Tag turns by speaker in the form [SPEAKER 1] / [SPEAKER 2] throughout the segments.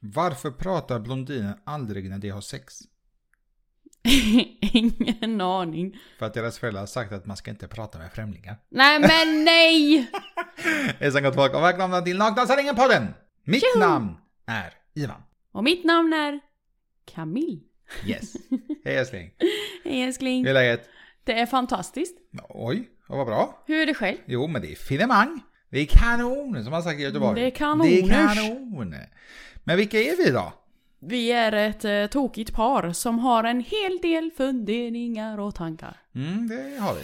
[SPEAKER 1] Varför pratar blondiner aldrig när de har sex?
[SPEAKER 2] Ingen aning.
[SPEAKER 1] För att deras föräldrar har sagt att man ska inte prata med främlingar.
[SPEAKER 2] Nej men nej!
[SPEAKER 1] Hejsan gott folk och välkomna till Nakdansarringen-podden! Mitt
[SPEAKER 2] Tjoho!
[SPEAKER 1] namn är Ivan.
[SPEAKER 2] Och mitt namn är Camille.
[SPEAKER 1] Yes. Hej älskling.
[SPEAKER 2] Hej älskling.
[SPEAKER 1] Hur är läget?
[SPEAKER 2] Det är fantastiskt.
[SPEAKER 1] Oj, vad bra.
[SPEAKER 2] Hur är det själv?
[SPEAKER 1] Jo, men det är finemang. Det är kanon, som man sagt i Göteborg.
[SPEAKER 2] Det är kanoners.
[SPEAKER 1] Det är kanon. Men vilka är vi då?
[SPEAKER 2] Vi är ett eh, tokigt par som har en hel del funderingar och tankar.
[SPEAKER 1] Mm, det har vi.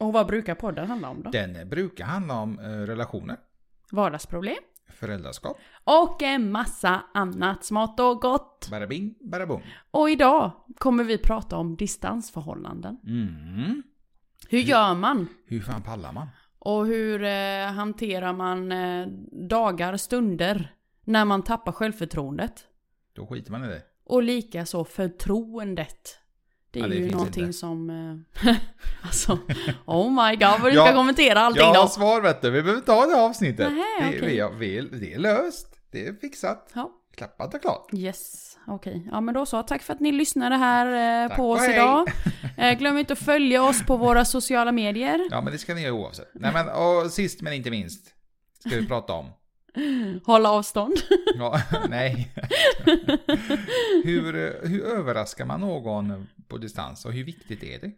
[SPEAKER 2] Och vad brukar podden handla om då?
[SPEAKER 1] Den brukar handla om eh, relationer,
[SPEAKER 2] Vardagsproblem.
[SPEAKER 1] föräldraskap,
[SPEAKER 2] Och en massa annat smått och gott.
[SPEAKER 1] bara bing, bara boom.
[SPEAKER 2] Och idag kommer vi prata om distansförhållanden.
[SPEAKER 1] Mm.
[SPEAKER 2] Hur gör man?
[SPEAKER 1] Hur fan pallar man?
[SPEAKER 2] Och hur eh, hanterar man eh, dagar, stunder när man tappar självförtroendet?
[SPEAKER 1] Då skiter man i det.
[SPEAKER 2] Och likaså förtroendet. Det är
[SPEAKER 1] Ja, det
[SPEAKER 2] ju
[SPEAKER 1] finns
[SPEAKER 2] någonting
[SPEAKER 1] inte.
[SPEAKER 2] som... Eh, alltså, oh my god vad du ska
[SPEAKER 1] Ja,
[SPEAKER 2] kommentera allting
[SPEAKER 1] Jag har
[SPEAKER 2] då.
[SPEAKER 1] svar vet du, vi behöver ta det avsnittet.
[SPEAKER 2] Nähä,
[SPEAKER 1] det,
[SPEAKER 2] okej.
[SPEAKER 1] vi, har- vi, det är löst, det är fixat,
[SPEAKER 2] Ja,
[SPEAKER 1] klappat och klart.
[SPEAKER 2] yes, okej. Ja men då så, tack för att ni lyssnade här eh,
[SPEAKER 1] Tack
[SPEAKER 2] på
[SPEAKER 1] och
[SPEAKER 2] oss
[SPEAKER 1] hej.
[SPEAKER 2] idag. Eh, glöm inte att följa oss på våra sociala medier.
[SPEAKER 1] Ja men det ska ni göra oavsett. Nej men och sist men inte minst ska vi prata om.
[SPEAKER 2] Hålla avstånd.
[SPEAKER 1] Ja, nej. hur, eh, hur överraskar man någon på distans och hur viktigt är det?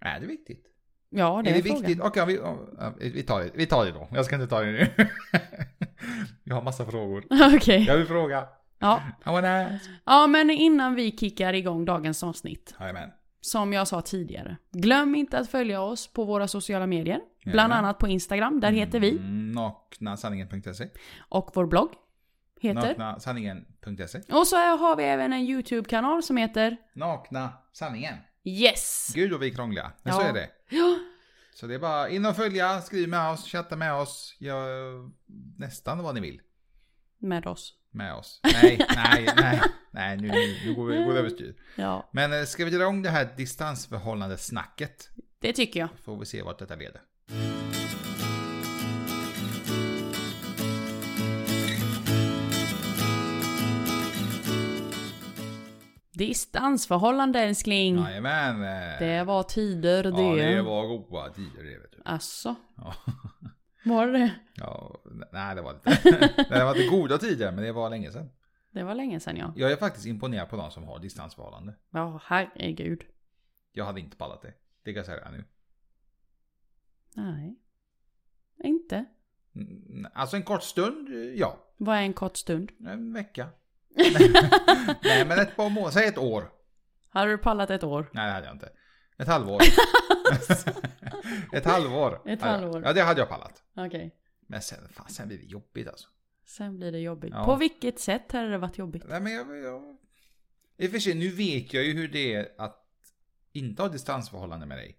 [SPEAKER 1] Är det viktigt?
[SPEAKER 2] Ja, det
[SPEAKER 1] är
[SPEAKER 2] är,
[SPEAKER 1] det
[SPEAKER 2] frågan.
[SPEAKER 1] viktigt? Okej, vi, ja, vi, tar det, vi tar det då. Jag ska inte ta det nu. jag har massa frågor.
[SPEAKER 2] Okej.
[SPEAKER 1] Jag vill fråga.
[SPEAKER 2] Ja.
[SPEAKER 1] I wanna ask.
[SPEAKER 2] ja, men innan vi kickar igång dagens avsnitt.
[SPEAKER 1] Jajamän.
[SPEAKER 2] som jag sa tidigare. Glöm inte att följa oss på våra sociala medier. Bland
[SPEAKER 1] Jajamän.
[SPEAKER 2] annat på Instagram, där heter vi.
[SPEAKER 1] Mm, Naknasanningen.se
[SPEAKER 2] Och vår blogg heter.
[SPEAKER 1] Naknasanningen.se
[SPEAKER 2] Och så har vi även en YouTube-kanal som heter
[SPEAKER 1] Nakna sanningen.
[SPEAKER 2] Yes.
[SPEAKER 1] Gud vad vi är krångliga. Men så
[SPEAKER 2] Ja.
[SPEAKER 1] är det.
[SPEAKER 2] Ja,
[SPEAKER 1] Så det är bara in och följa, skriv med oss, chatta med oss, gör nästan vad ni vill
[SPEAKER 2] med oss.
[SPEAKER 1] med oss. Nej, nej, nej, nej, nu, nu, nu går vi går vi överstyr.
[SPEAKER 2] Ja,
[SPEAKER 1] Men eh, ska vi dra igång det här distansförhållande-snacket?
[SPEAKER 2] det tycker jag.
[SPEAKER 1] Får vi se vart detta leder.
[SPEAKER 2] Distansförhållande älskling.
[SPEAKER 1] Jajamän! eh,
[SPEAKER 2] Mm. Det var tider det.
[SPEAKER 1] Ja, det var goa tider det vet du.
[SPEAKER 2] Alltså,
[SPEAKER 1] Ja,
[SPEAKER 2] var det det?
[SPEAKER 1] ja, nej det var det inte. Nej, Det var inte goda tider, men det var länge sedan.
[SPEAKER 2] Det var länge sedan ja.
[SPEAKER 1] Jag är faktiskt imponerad på de som har distansförhållande.
[SPEAKER 2] Ja, herregud.
[SPEAKER 1] Jag hade inte pallat det. Det kan jag säga nu.
[SPEAKER 2] Nej. Inte.
[SPEAKER 1] Mm, Alltså en kort stund, eh, ja.
[SPEAKER 2] Vad är en kort stund?
[SPEAKER 1] En vecka. Nej men ett par månader, säg ett år.
[SPEAKER 2] Har du pallat ett år?
[SPEAKER 1] Nej det hade jag inte. Ett halvår. ett halvår.
[SPEAKER 2] Ett
[SPEAKER 1] hade jag.
[SPEAKER 2] halvår.
[SPEAKER 1] Ja det hade jag pallat.
[SPEAKER 2] Okej.
[SPEAKER 1] Men sen, fan, sen blir det jobbigt alltså.
[SPEAKER 2] Sen blir det jobbigt.
[SPEAKER 1] Ja.
[SPEAKER 2] På vilket sätt hade det varit jobbigt?
[SPEAKER 1] Nej men jag... jag... I och för sig, nu vet jag ju hur det är att inte ha distansförhållande med dig.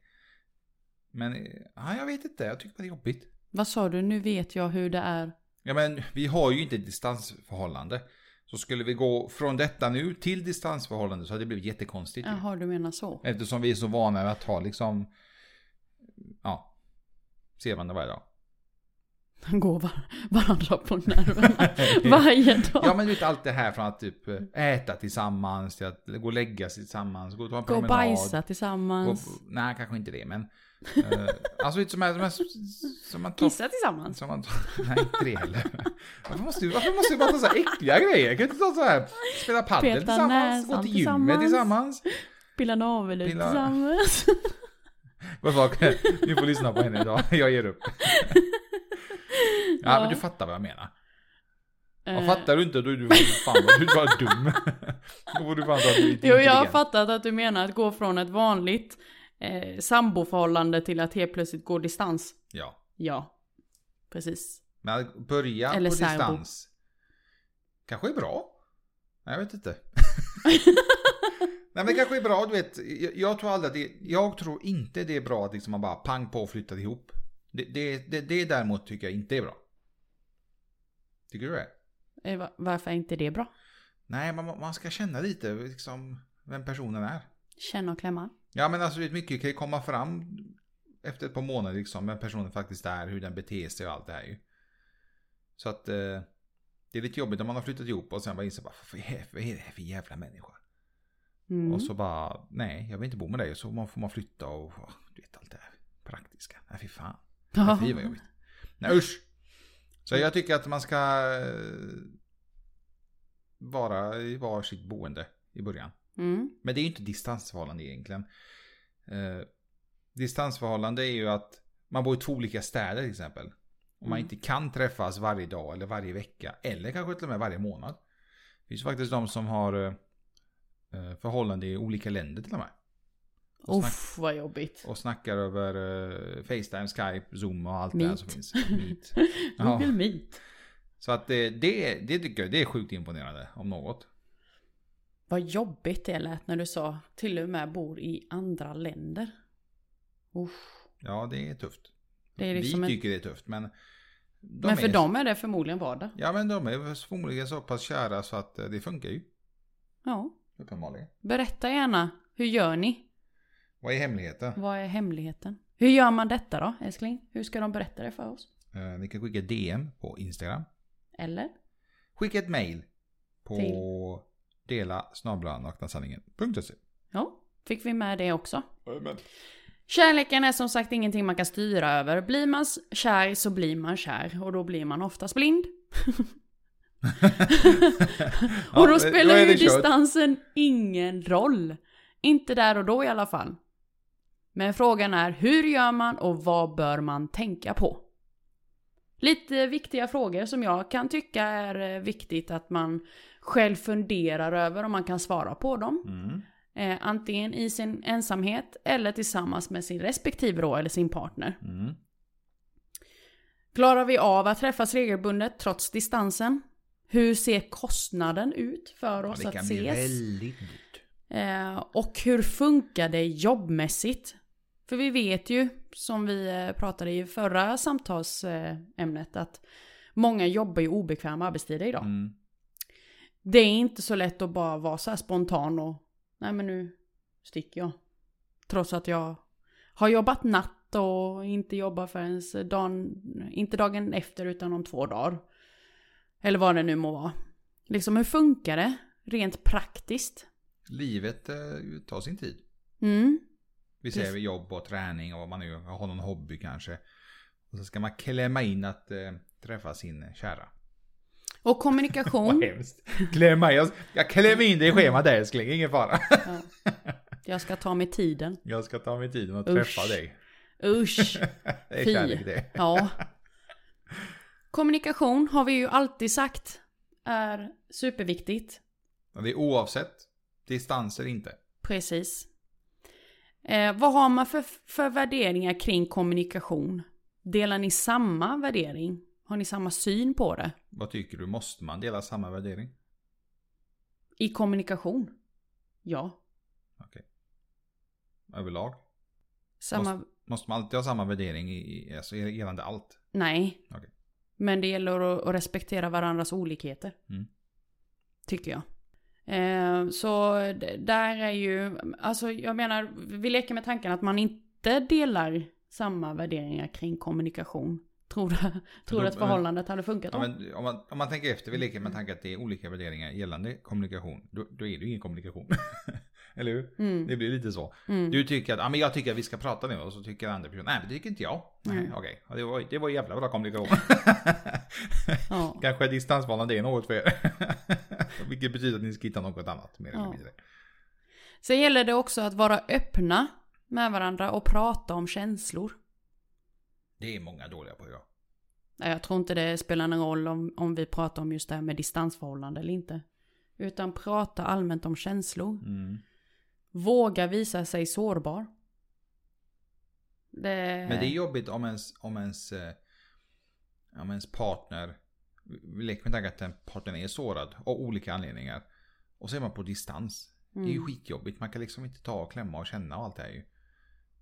[SPEAKER 1] Men, eh, ja, jag vet inte, jag tycker bara det är jobbigt.
[SPEAKER 2] Vad sa du? Nu vet jag hur det är.
[SPEAKER 1] Ja men vi har ju inte ett distansförhållande. Så skulle vi gå från detta nu till distansförhållande så hade det blivit jättekonstigt. ju.
[SPEAKER 2] Jaha, du menar så.
[SPEAKER 1] Eftersom vi är så vana vid att ha liksom, ja, ser man det varje dag.
[SPEAKER 2] Han går var- varandra på nerverna. Varje dag.
[SPEAKER 1] Ja men du vet allt det här från att typ äta tillsammans, till att gå och lägga sig tillsammans, gå och ta en
[SPEAKER 2] Gå och
[SPEAKER 1] promenad.
[SPEAKER 2] bajsa
[SPEAKER 1] gå-
[SPEAKER 2] tillsammans.
[SPEAKER 1] nej kanske inte det men. eh, alltså lite som, här- som, här- som man tar...
[SPEAKER 2] Kissa tillsammans.
[SPEAKER 1] Som man tar, nej inte det heller. Varför måste, varför måste vi bara ta så här äckliga grejer? Kan vi inte ta så här, spela padel
[SPEAKER 2] Peta
[SPEAKER 1] tillsammans, gå
[SPEAKER 2] näsan
[SPEAKER 1] till gymmet tillsammans.
[SPEAKER 2] Pilla naveln ut
[SPEAKER 1] Pilla-
[SPEAKER 2] tillsammans.
[SPEAKER 1] Vad fuck, ni får lyssna på henne idag, jag ger upp. Ja,
[SPEAKER 2] Ja.
[SPEAKER 1] men du fattar vad jag menar. Ja,
[SPEAKER 2] Eh,
[SPEAKER 1] fattar du inte då är du fan då är du bara dum. Då får du fan ta att du är
[SPEAKER 2] Jo, jag har
[SPEAKER 1] intelligent.
[SPEAKER 2] fattat att du menar att gå från ett vanligt eh, samboförhållande till att helt plötsligt gå distans.
[SPEAKER 1] Ja.
[SPEAKER 2] Ja, precis.
[SPEAKER 1] Men att börja
[SPEAKER 2] Eller
[SPEAKER 1] på
[SPEAKER 2] särbo.
[SPEAKER 1] distans. Kanske är bra. Nej, jag vet inte. Nej men det kanske är bra, du vet. Jag, jag tror aldrig att det, Jag tror inte det är bra att liksom man bara pang på och flyttar ihop. Det, det, det, det däremot tycker jag inte är bra. Tycker du det?
[SPEAKER 2] Eh, va- Varför är inte det bra?
[SPEAKER 1] Nej, man, man ska känna lite liksom vem personen är.
[SPEAKER 2] Känna och klämma.
[SPEAKER 1] Ja men alltså det är mycket kan ju komma fram efter ett par månader liksom vem personen faktiskt är, hur den beter sig och allt det här ju. Så att eh, Det är lite jobbigt om man har flyttat ihop och sen bara inser bara, vad är vad är det här för jävla människa?
[SPEAKER 2] Mm.
[SPEAKER 1] Och så bara, nej jag vill inte bo med dig. Och så man- får man flytta och åh, du vet allt det här praktiska. Nej fy fan. Nej, fy vad jobbigt. Nej usch. Så jag tycker att man ska eh, vara i var sitt boende i början.
[SPEAKER 2] Mm.
[SPEAKER 1] Men det är ju inte distansförhållande egentligen. Eh, distansförhållande är ju att man bor i två olika städer till exempel. Och man
[SPEAKER 2] Mm.
[SPEAKER 1] inte kan träffas varje dag eller varje vecka. Eller kanske till och med varje månad. Det finns ju faktiskt de som har eh, eh, förhållande i olika länder till och med. Och, snack,
[SPEAKER 2] Uff, vad jobbigt.
[SPEAKER 1] och snackar över eh, Facetime, Skype, Zoom och allt det här
[SPEAKER 2] Meet.
[SPEAKER 1] som finns. Meet. Ja.
[SPEAKER 2] Google Meet.
[SPEAKER 1] Så att det, det, det tycker jag det är sjukt imponerande om något.
[SPEAKER 2] Vad jobbigt det lät när du sa till och med bor i andra länder. Usch.
[SPEAKER 1] Ja, det är tufft.
[SPEAKER 2] Det är liksom
[SPEAKER 1] Vi
[SPEAKER 2] en-
[SPEAKER 1] tycker det är tufft men... de
[SPEAKER 2] Men för
[SPEAKER 1] är-
[SPEAKER 2] dem är det förmodligen vardag.
[SPEAKER 1] Ja men de är förmodligen så pass kära så att eh, det funkar ju.
[SPEAKER 2] Ja.
[SPEAKER 1] Uppenbarligen.
[SPEAKER 2] Berätta gärna, hur gör ni?
[SPEAKER 1] Vad är hemligheten?
[SPEAKER 2] Vad är hemligheten? Hur gör man detta då, älskling? Hur ska de berätta det för oss?
[SPEAKER 1] Eh, ni kan skicka DM på Instagram.
[SPEAKER 2] Eller?
[SPEAKER 1] Skicka ett mail på dela
[SPEAKER 2] Ja, fick vi med det också. Kärleken är som sagt ingenting man kan styra över. Blir man s- kär så blir man kär och då blir man oftast blind. och då spelar ju distansen ingen roll. Inte där och då i alla fall. Men frågan är hur gör man och vad bör man tänka på? Lite viktiga frågor som jag kan tycka är eh, viktigt att man själv funderar över om man kan svara på dem.
[SPEAKER 1] Mm.
[SPEAKER 2] Eh, antingen i sin ensamhet eller tillsammans med sin respektive då, eller sin partner.
[SPEAKER 1] Mm.
[SPEAKER 2] Klarar vi av att träffas regelbundet trots distansen? Hur ser kostnaden ut för
[SPEAKER 1] Ja,
[SPEAKER 2] oss
[SPEAKER 1] det
[SPEAKER 2] att
[SPEAKER 1] kan bli
[SPEAKER 2] ses?
[SPEAKER 1] väldigt dyrt.
[SPEAKER 2] Eh, och hur funkar det jobbmässigt? För vi vet ju, som vi eh, pratade i förra samtalsämnet, att många jobbar ju obekväma arbetstider idag.
[SPEAKER 1] Mm.
[SPEAKER 2] Det är inte så lätt att bara vara så här spontan och nej men nu sticker jag. Trots att jag har jobbat natt och inte jobbar förrän dagen, inte dagen efter utan om två dagar. Eller vad det nu må vara. Liksom hur funkar det rent praktiskt?
[SPEAKER 1] Livet eh, tar sin tid.
[SPEAKER 2] Mm.
[SPEAKER 1] Vi
[SPEAKER 2] Precis.
[SPEAKER 1] säger vi jobb och träning och vad man nu har någon hobby kanske. Och så ska man klämma in att eh, träffa sin kära.
[SPEAKER 2] Och kommunikation.
[SPEAKER 1] Vad hemskt. Klämma in. Jag, jag klämmer in det i schemat där älskling, ingen fara.
[SPEAKER 2] Ja. Jag ska ta mig tiden.
[SPEAKER 1] Jag ska ta mig tiden att
[SPEAKER 2] Usch.
[SPEAKER 1] träffa dig.
[SPEAKER 2] Usch.
[SPEAKER 1] Det är
[SPEAKER 2] Fy.
[SPEAKER 1] kärlek det.
[SPEAKER 2] Ja. Kommunikation har vi ju alltid sagt är superviktigt.
[SPEAKER 1] Men Det är oavsett distanser inte.
[SPEAKER 2] Precis. Eh, vad har man för, för värderingar kring kommunikation? Delar ni samma värdering? Har ni samma syn på det?
[SPEAKER 1] Vad tycker du? Måste man dela samma värdering?
[SPEAKER 2] I kommunikation? Ja.
[SPEAKER 1] Överlag?
[SPEAKER 2] Samma...
[SPEAKER 1] Måste man alltid ha samma värdering i, i, alltså, gällande allt?
[SPEAKER 2] Nej.
[SPEAKER 1] Okej.
[SPEAKER 2] Men det gäller att, att respektera varandras olikheter.
[SPEAKER 1] Mm.
[SPEAKER 2] Tycker jag. Eh, så d- där är ju, alltså jag menar, vi leker med tanken att man inte delar samma värderingar kring kommunikation. Tror du, tror du att förhållandet hade funkat då?
[SPEAKER 1] Ja, men, om, man, om man tänker efter, vi
[SPEAKER 2] Mm.
[SPEAKER 1] leker med tanken att det är olika värderingar gällande kommunikation. Då, då är det ju ingen kommunikation. Eller hur?
[SPEAKER 2] Mm,
[SPEAKER 1] Det blir lite så.
[SPEAKER 2] mm.
[SPEAKER 1] Du tycker att, ja men jag tycker att vi ska prata nu och så tycker den andra personen, nej men det tycker inte jag. Nej,
[SPEAKER 2] Mm.
[SPEAKER 1] okej. Ja, det, var, det var jävla bra kommunikation.
[SPEAKER 2] Ja.
[SPEAKER 1] Kanske distansvalande är något för er. Vilket betyder att ni ska hitta något annat. Mer eller
[SPEAKER 2] Ja.
[SPEAKER 1] mindre.
[SPEAKER 2] Sen gäller det också att vara öppna med varandra och prata om känslor.
[SPEAKER 1] Det är många dåliga på idag.
[SPEAKER 2] Nej, jag tror inte det spelar någon roll om, om vi pratar om just det här med distansförhållande eller inte. Utan prata allmänt om känslor.
[SPEAKER 1] Mm.
[SPEAKER 2] Våga visa sig sårbar. Det...
[SPEAKER 1] Men det är jobbigt om ens, om ens, eh, om ens partner, vi leker med tanken att den partnern är sårad av olika anledningar. Och så är man på distans. Det är ju
[SPEAKER 2] Mm.
[SPEAKER 1] skitjobbigt. Man kan liksom inte ta och klämma och känna och allt det här ju.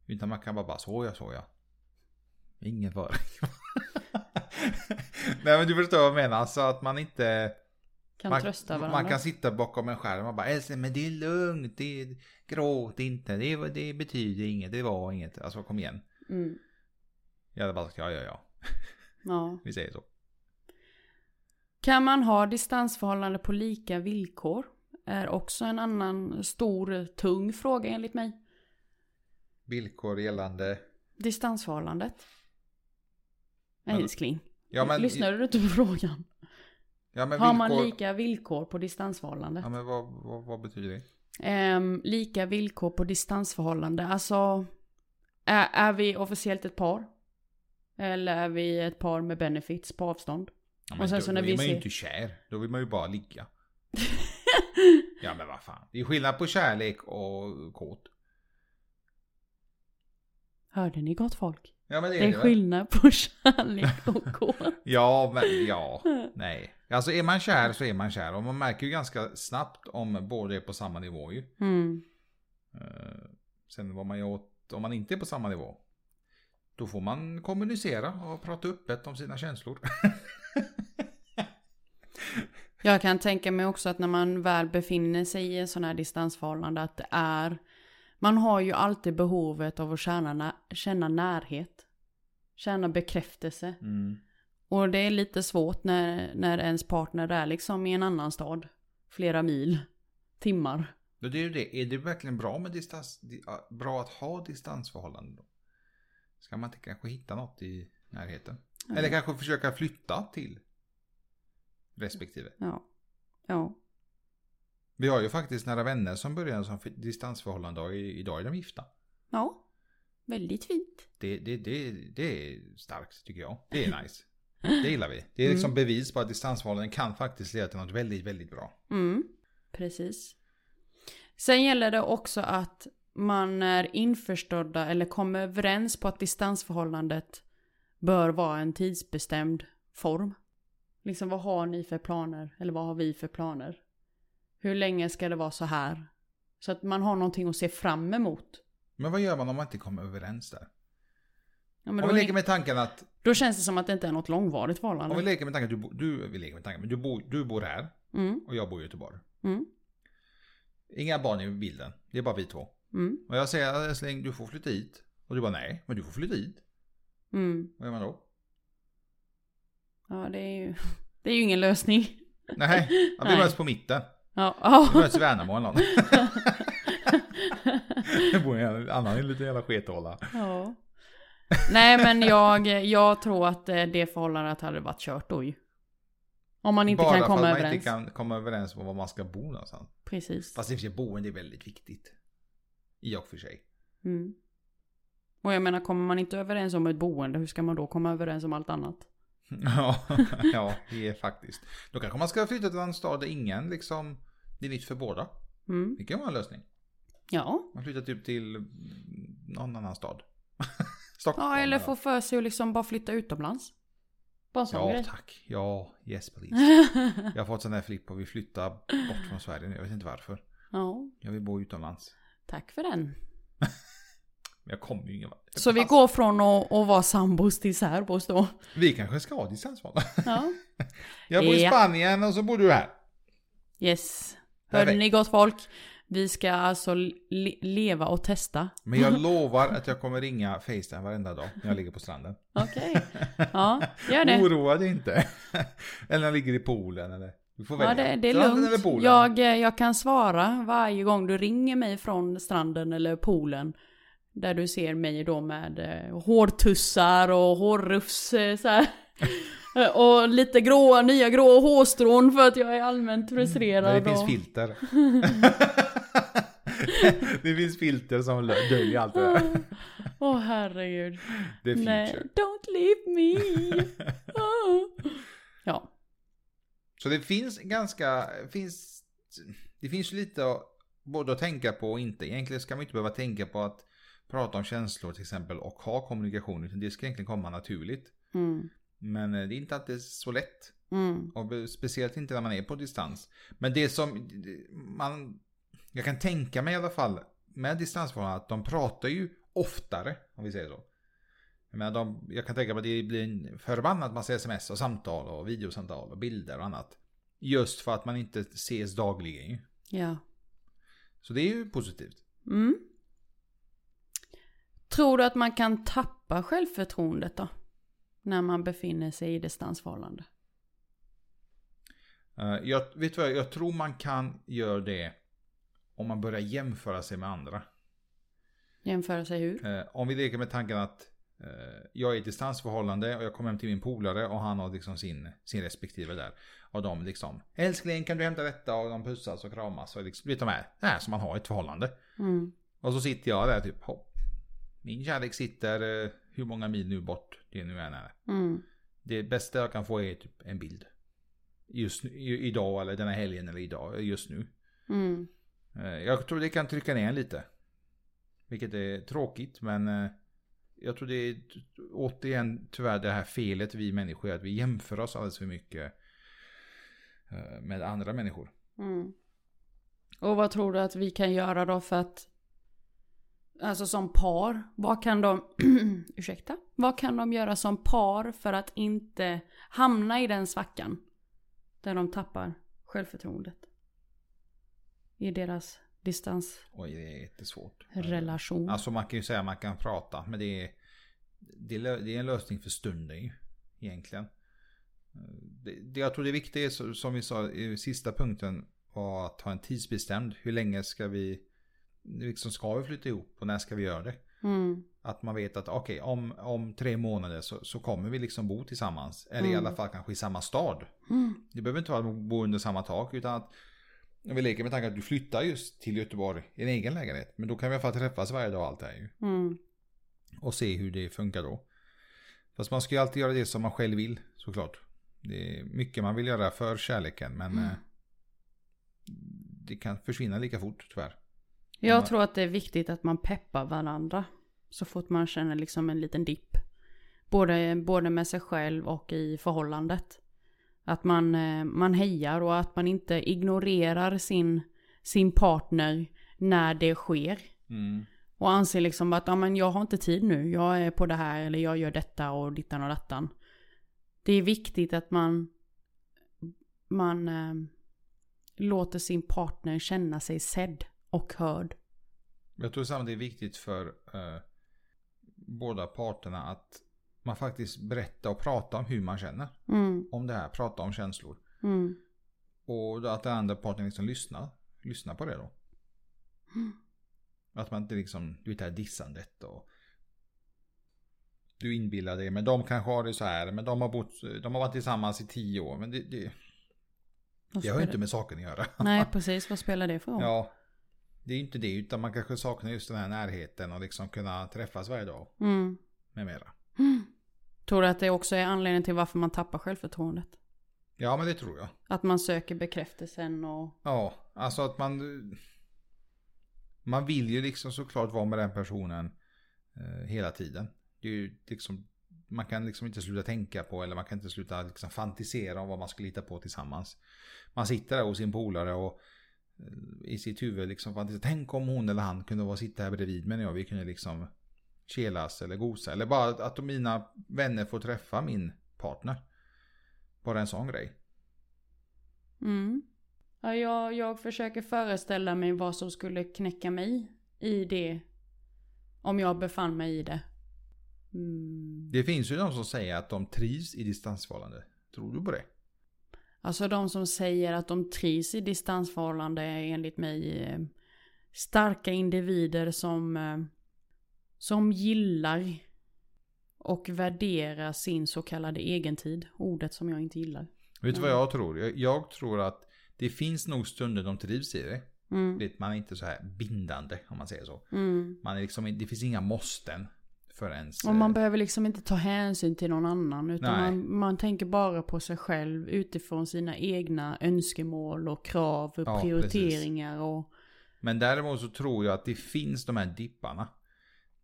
[SPEAKER 1] Utan man kan bara, bara så jag, så jag. Ingen fara. Nej men du förstår vad jag menar. Så att man inte...
[SPEAKER 2] kan
[SPEAKER 1] man,
[SPEAKER 2] trösta varandra.
[SPEAKER 1] man kan sitta bakom en skärm och bara älskling men det är lugnt. Det är, gråt inte. Det, var- det betyder inget. Det var inget. Alltså kom igen.
[SPEAKER 2] Mm.
[SPEAKER 1] Jag hade bara sagt ja, ja, ja.
[SPEAKER 2] Ja.
[SPEAKER 1] Vi säger så.
[SPEAKER 2] Kan man ha distansförhållande på lika villkor? Är också en annan stor, tung fråga enligt mig.
[SPEAKER 1] Villkor gällande...
[SPEAKER 2] Distansförhållandet.
[SPEAKER 1] Men-
[SPEAKER 2] Älskling,
[SPEAKER 1] Ja men,
[SPEAKER 2] lyssnade du inte på frågan?
[SPEAKER 1] ja, men
[SPEAKER 2] Har man
[SPEAKER 1] villkor-
[SPEAKER 2] lika villkor på distansförhållandet?
[SPEAKER 1] Ja men vad, vad, vad betyder det?
[SPEAKER 2] Ehm, lika villkor på distansförhållande. Alltså, är, är vi officiellt ett par? Eller är vi ett par med benefits på avstånd?
[SPEAKER 1] Ja,
[SPEAKER 2] Och
[SPEAKER 1] men
[SPEAKER 2] sen
[SPEAKER 1] då,
[SPEAKER 2] så när
[SPEAKER 1] då
[SPEAKER 2] vi
[SPEAKER 1] är man ju
[SPEAKER 2] ser-
[SPEAKER 1] inte kär. Då vill man ju bara ligga. Ja men vad fan. Det är skillnad på kärlek och kåt.
[SPEAKER 2] Hörde ni gott folk?
[SPEAKER 1] Ja men det är,
[SPEAKER 2] Det är
[SPEAKER 1] väl.
[SPEAKER 2] skillnad på kärlek och kåt.
[SPEAKER 1] Ja men ja. Nej. Alltså är man kär så är man kär. Och man märker ju ganska snabbt om båda är på samma nivå ju.
[SPEAKER 2] Mm.
[SPEAKER 1] Eh, Sen vad man gör åt, om man inte är på samma nivå. Då får man kommunicera och prata öppet om sina känslor.
[SPEAKER 2] Jag kan tänka mig också att när man väl befinner sig i en sån här distansförhållande att det är... Man har ju alltid behovet av att känna, na- känna närhet. Känna bekräftelse.
[SPEAKER 1] Mm.
[SPEAKER 2] Och det är lite svårt när, när ens partner är liksom i en annan stad. Flera mil. Timmar.
[SPEAKER 1] Då det är ju det. Är det verkligen bra med distans? di- ja, Bra att ha distansförhållanden då? Ska man inte kanske hitta något i närheten? Eller kanske försöka flytta till respektive.
[SPEAKER 2] Ja. Ja.
[SPEAKER 1] Vi har ju faktiskt nära vänner som började som f- distansförhållande och i- idag är de gifta.
[SPEAKER 2] Ja. Väldigt fint.
[SPEAKER 1] Det, det, det, det är starkt tycker jag. Det är nice. Det gillar vi. Det är liksom
[SPEAKER 2] Mm.
[SPEAKER 1] bevis på att distansförhållanden kan faktiskt leda till något väldigt, väldigt bra.
[SPEAKER 2] Mm. Precis. Sen gäller det också att man är införstådda eller kommer överens på att distansförhållandet bör vara en tidsbestämd form. Liksom vad har ni för planer? Eller vad har vi för planer? Hur länge ska det vara så här? Så att man har någonting att se fram emot.
[SPEAKER 1] Men vad gör man om man inte kommer överens där?
[SPEAKER 2] Ja, men
[SPEAKER 1] om
[SPEAKER 2] då,
[SPEAKER 1] vi leker med tanken att,
[SPEAKER 2] då känns det som att det inte är något
[SPEAKER 1] om
[SPEAKER 2] långvarigt
[SPEAKER 1] vi
[SPEAKER 2] förhållande.
[SPEAKER 1] leker med tanken att du, bo- du, vi leker med tanken, men du, bor- du bor här
[SPEAKER 2] Mm,
[SPEAKER 1] och jag bor i Göteborg.
[SPEAKER 2] mm,
[SPEAKER 1] Inga barn i bilden, det är bara vi två.
[SPEAKER 2] mm,
[SPEAKER 1] Och jag säger "Äh, älskling, du får flytta hit. Och du bara nej, men du får flytta hit.
[SPEAKER 2] mm.
[SPEAKER 1] Vad gör man då?
[SPEAKER 2] Ja, det är ju, det är ju ingen lösning.
[SPEAKER 1] Nej, ja, vi
[SPEAKER 2] Nej.
[SPEAKER 1] möts på mitten.
[SPEAKER 2] Ja,
[SPEAKER 1] Vi
[SPEAKER 2] ja.
[SPEAKER 1] möts i Värnamo eller något. Det bor i en annan liten jävla skethåla.
[SPEAKER 2] ja. Nej, men jag, jag tror att eh, det förhållandet hade varit kört då ju. Om man inte
[SPEAKER 1] Bara
[SPEAKER 2] kan
[SPEAKER 1] för
[SPEAKER 2] komma
[SPEAKER 1] att man
[SPEAKER 2] överens.
[SPEAKER 1] inte kan komma överens om var man ska bo någonstans.
[SPEAKER 2] Precis.
[SPEAKER 1] Fast i och för sig, boende är väldigt viktigt. I och för sig.
[SPEAKER 2] Mm. Och jag menar, kommer man inte överens om ett boende, hur ska man då komma överens om allt annat?
[SPEAKER 1] Ja, ja, det är faktiskt. Då kanske man ska flytta till en stad där ingen liksom, det är nytt för båda.
[SPEAKER 2] Mm.
[SPEAKER 1] Det kan vara en lösning.
[SPEAKER 2] Ja.
[SPEAKER 1] Man flyttar typ till någon annan stad. Stockholm.
[SPEAKER 2] ja, eller få för sig att liksom bara flytta utomlands. Bara en sån
[SPEAKER 1] Ja,
[SPEAKER 2] grej.
[SPEAKER 1] tack. Ja, yes please. Jag har fått sån där flipp och vi flyttar bort från Sverige nu. Jag vet inte varför.
[SPEAKER 2] ja,
[SPEAKER 1] Jag vill bo utomlands.
[SPEAKER 2] tack för den.
[SPEAKER 1] Men jag kommer ju ingen vart.
[SPEAKER 2] Så vi
[SPEAKER 1] Fast
[SPEAKER 2] går från att, att vara sambos till särbos då.
[SPEAKER 1] Vi kanske ska ha distansval.
[SPEAKER 2] Ja.
[SPEAKER 1] Jag bor i
[SPEAKER 2] Ja.
[SPEAKER 1] Spanien och så bor du här.
[SPEAKER 2] Yes. Hörde
[SPEAKER 1] Perfekt.
[SPEAKER 2] ni gott folk? Vi ska alltså le- leva och testa.
[SPEAKER 1] Men jag lovar att jag kommer ringa Facetime varenda dag när jag ligger på stranden.
[SPEAKER 2] Okej. Ja, gör det.
[SPEAKER 1] Oroa dig inte. eller när jag ligger i poolen eller. Du får välja.
[SPEAKER 2] Ja, det, det är
[SPEAKER 1] Stranden eller
[SPEAKER 2] lugnt.
[SPEAKER 1] poolen.
[SPEAKER 2] Jag, eh, jag kan svara varje gång du ringer mig från stranden eller poolen. Där du ser mig då med eh, hårtussar och hårrufs eh, så här. Eh, och lite gråa, nya grå hårstrån för att jag är allmänt frustrerad.
[SPEAKER 1] Mm. Men det finns
[SPEAKER 2] och...
[SPEAKER 1] filter. det finns filter som döljer allt det där.
[SPEAKER 2] Åh herregud.
[SPEAKER 1] Det är
[SPEAKER 2] Nej,
[SPEAKER 1] future.
[SPEAKER 2] don't leave me. Ah. Ja.
[SPEAKER 1] Så det finns ganska, finns, det finns lite att- både att tänka på och inte. Egentligen ska man inte behöva tänka på att prata om känslor till exempel och ha kommunikation. Utan det ska egentligen komma naturligt.
[SPEAKER 2] Mm.
[SPEAKER 1] Men eh, det är inte alltid så lätt.
[SPEAKER 2] Mm.
[SPEAKER 1] Och be- speciellt inte när man är på distans. Men det som det- man... Jag kan tänka mig i alla fall med distansförhållanden att de pratar ju oftare, om vi säger så. Jag, menar, de, jag kan tänka mig att det blir en förbannad massa sms och samtal och videosamtal och bilder och annat. Just för att man inte ses dagligen ju.
[SPEAKER 2] Ja.
[SPEAKER 1] Så det är ju positivt.
[SPEAKER 2] Mm. Tror du att man kan tappa självförtroendet då? När man befinner sig i distansförhållande?
[SPEAKER 1] Eh, Jag, vet du vad, jag tror man kan göra det om man börjar jämföra sig med andra.
[SPEAKER 2] Jämföra sig hur?
[SPEAKER 1] Eh, om vi leker med tanken att eh, jag är i ett distansförhållande och jag kommer hem till min polare och han har liksom sin, sin respektive där. Och de liksom, älskling kan du hämta detta? Och de pussas och kramas och liksom, vet de här, det här som man har i ett förhållande.
[SPEAKER 2] Mm.
[SPEAKER 1] Och så sitter jag där typ, hopp. Min kärlek sitter eh, hur många mil nu bort, det nu än är.
[SPEAKER 2] Mm.
[SPEAKER 1] Det bästa jag kan få är typ en bild. Just nu, i- idag eller den här helgen eller idag, just nu.
[SPEAKER 2] Mm.
[SPEAKER 1] Eh, Jag tror det kan trycka ner en lite. Vilket är tråkigt men eh, jag tror det är t- återigen tyvärr det här felet vi människor gör. Att vi jämför oss alldeles för mycket eh, med andra människor.
[SPEAKER 2] Mm. Och vad tror du att vi kan göra då för att... Alltså som par, vad kan de... ursäkta? Vad kan de göra som par för att inte hamna i den svackan? Där de tappar självförtroendet. I deras
[SPEAKER 1] Oj, det är jättesvårt.
[SPEAKER 2] distansrelation.
[SPEAKER 1] Alltså man kan ju säga att man kan prata men det är, det är, lö- det är en lösning för stunden ju. Egentligen. Eh, Det, det jag tror det viktiga är så- som vi sa i sista punkten var att ha en tidsbestämd. Hur länge ska vi, liksom ska vi flytta ihop och när ska vi göra det?
[SPEAKER 2] Mm.
[SPEAKER 1] Att man vet att okej, om, om tre månader så, så kommer vi liksom bo tillsammans. Eller i
[SPEAKER 2] Mm.
[SPEAKER 1] alla fall kanske i samma stad.
[SPEAKER 2] Mm.
[SPEAKER 1] Det behöver inte vara att bo under samma tak utan att om vi leker med tanken att du flyttar just till Göteborg i en egen lägenhet. Men då kan vi i alla fall träffas varje dag och allt det här ju.
[SPEAKER 2] Mm.
[SPEAKER 1] Och se hur det funkar då. Fast man ska ju alltid göra det som man själv vill såklart. Det är mycket man vill göra för kärleken men
[SPEAKER 2] Mm.
[SPEAKER 1] eh, det kan försvinna lika fort tyvärr.
[SPEAKER 2] Jag
[SPEAKER 1] Ja.
[SPEAKER 2] tror att det är viktigt att man peppar varandra. Så fort man känner liksom en liten dipp. Både, både med sig själv och i förhållandet. Att man, eh, man hejar och att man inte ignorerar sin, sin partner när det sker. Och anser liksom att ja, men jag har inte tid nu, jag är på det här eller jag gör detta och dittan och dattan. Det är viktigt att man, man eh, låter sin partner känna sig sedd och hörd.
[SPEAKER 1] Men Jag tror samtidigt det är viktigt för eh, båda parterna att man faktiskt berättar och pratar om hur man känner.
[SPEAKER 2] Mm,
[SPEAKER 1] Om det här, prata om känslor.
[SPEAKER 2] mm,
[SPEAKER 1] Och då att den andra parten liksom lyssnar. Lyssnar på det då.
[SPEAKER 2] Mm.
[SPEAKER 1] Att man inte liksom, du vet det här dissandet och du inbillar dig, men de kanske har det så här, men de har, bott, de har varit tillsammans i tio år. Men det, det,
[SPEAKER 2] Vad
[SPEAKER 1] det har ju
[SPEAKER 2] spelar-
[SPEAKER 1] inte med saken att göra.
[SPEAKER 2] Nej, precis. Vad spelar det för roll?
[SPEAKER 1] Ja, det är ju inte det, utan man kanske saknar just den här närheten och liksom kunna träffas varje dag
[SPEAKER 2] Mm.
[SPEAKER 1] med mera.
[SPEAKER 2] Tror du att det också är anledningen till varför man tappar självförtroendet?
[SPEAKER 1] Ja, men det tror jag.
[SPEAKER 2] Att man söker bekräftelsen och...
[SPEAKER 1] Ja, alltså att man... Man vill ju liksom såklart vara med den personen eh, hela tiden. Det är ju liksom, man kan liksom inte sluta tänka på eller man kan inte sluta liksom fantisera om vad man skulle hitta på tillsammans. Man sitter där hos sin polare och eh, i sitt huvud liksom fantiserar. Tänk om hon eller han kunde vara sitta här bredvid mig när jag. Vi kunde liksom kelas eller gosa. Eller bara att- att mina vänner får träffa min partner. Bara en sån grej.
[SPEAKER 2] Mm. Ja, jag, jag försöker föreställa mig vad som skulle knäcka mig i det. Om jag befann mig i det. Mm.
[SPEAKER 1] Det finns ju de som säger att de trivs i distansförhållande. Tror du på det?
[SPEAKER 2] Alltså de som säger att de trivs i distansförhållande är enligt mig eh, starka individer som, eh, som gillar och värderar sin så kallade egentid. Ordet som jag inte gillar.
[SPEAKER 1] Vet du
[SPEAKER 2] Mm.
[SPEAKER 1] vad jag tror? Jag, jag tror att det finns nog stunder de trivs i det.
[SPEAKER 2] Mm,
[SPEAKER 1] Vet, Man är inte så här bindande om man säger så.
[SPEAKER 2] mm.
[SPEAKER 1] Man är liksom, det finns inga måsten för ens...
[SPEAKER 2] Och man
[SPEAKER 1] eh,
[SPEAKER 2] behöver liksom inte ta hänsyn till någon annan. Utan
[SPEAKER 1] Nej.
[SPEAKER 2] man, man tänker bara på sig själv utifrån sina egna önskemål och krav och
[SPEAKER 1] Ja,
[SPEAKER 2] prioriteringar. Och,
[SPEAKER 1] Men däremot så tror jag att det finns de här dipparna.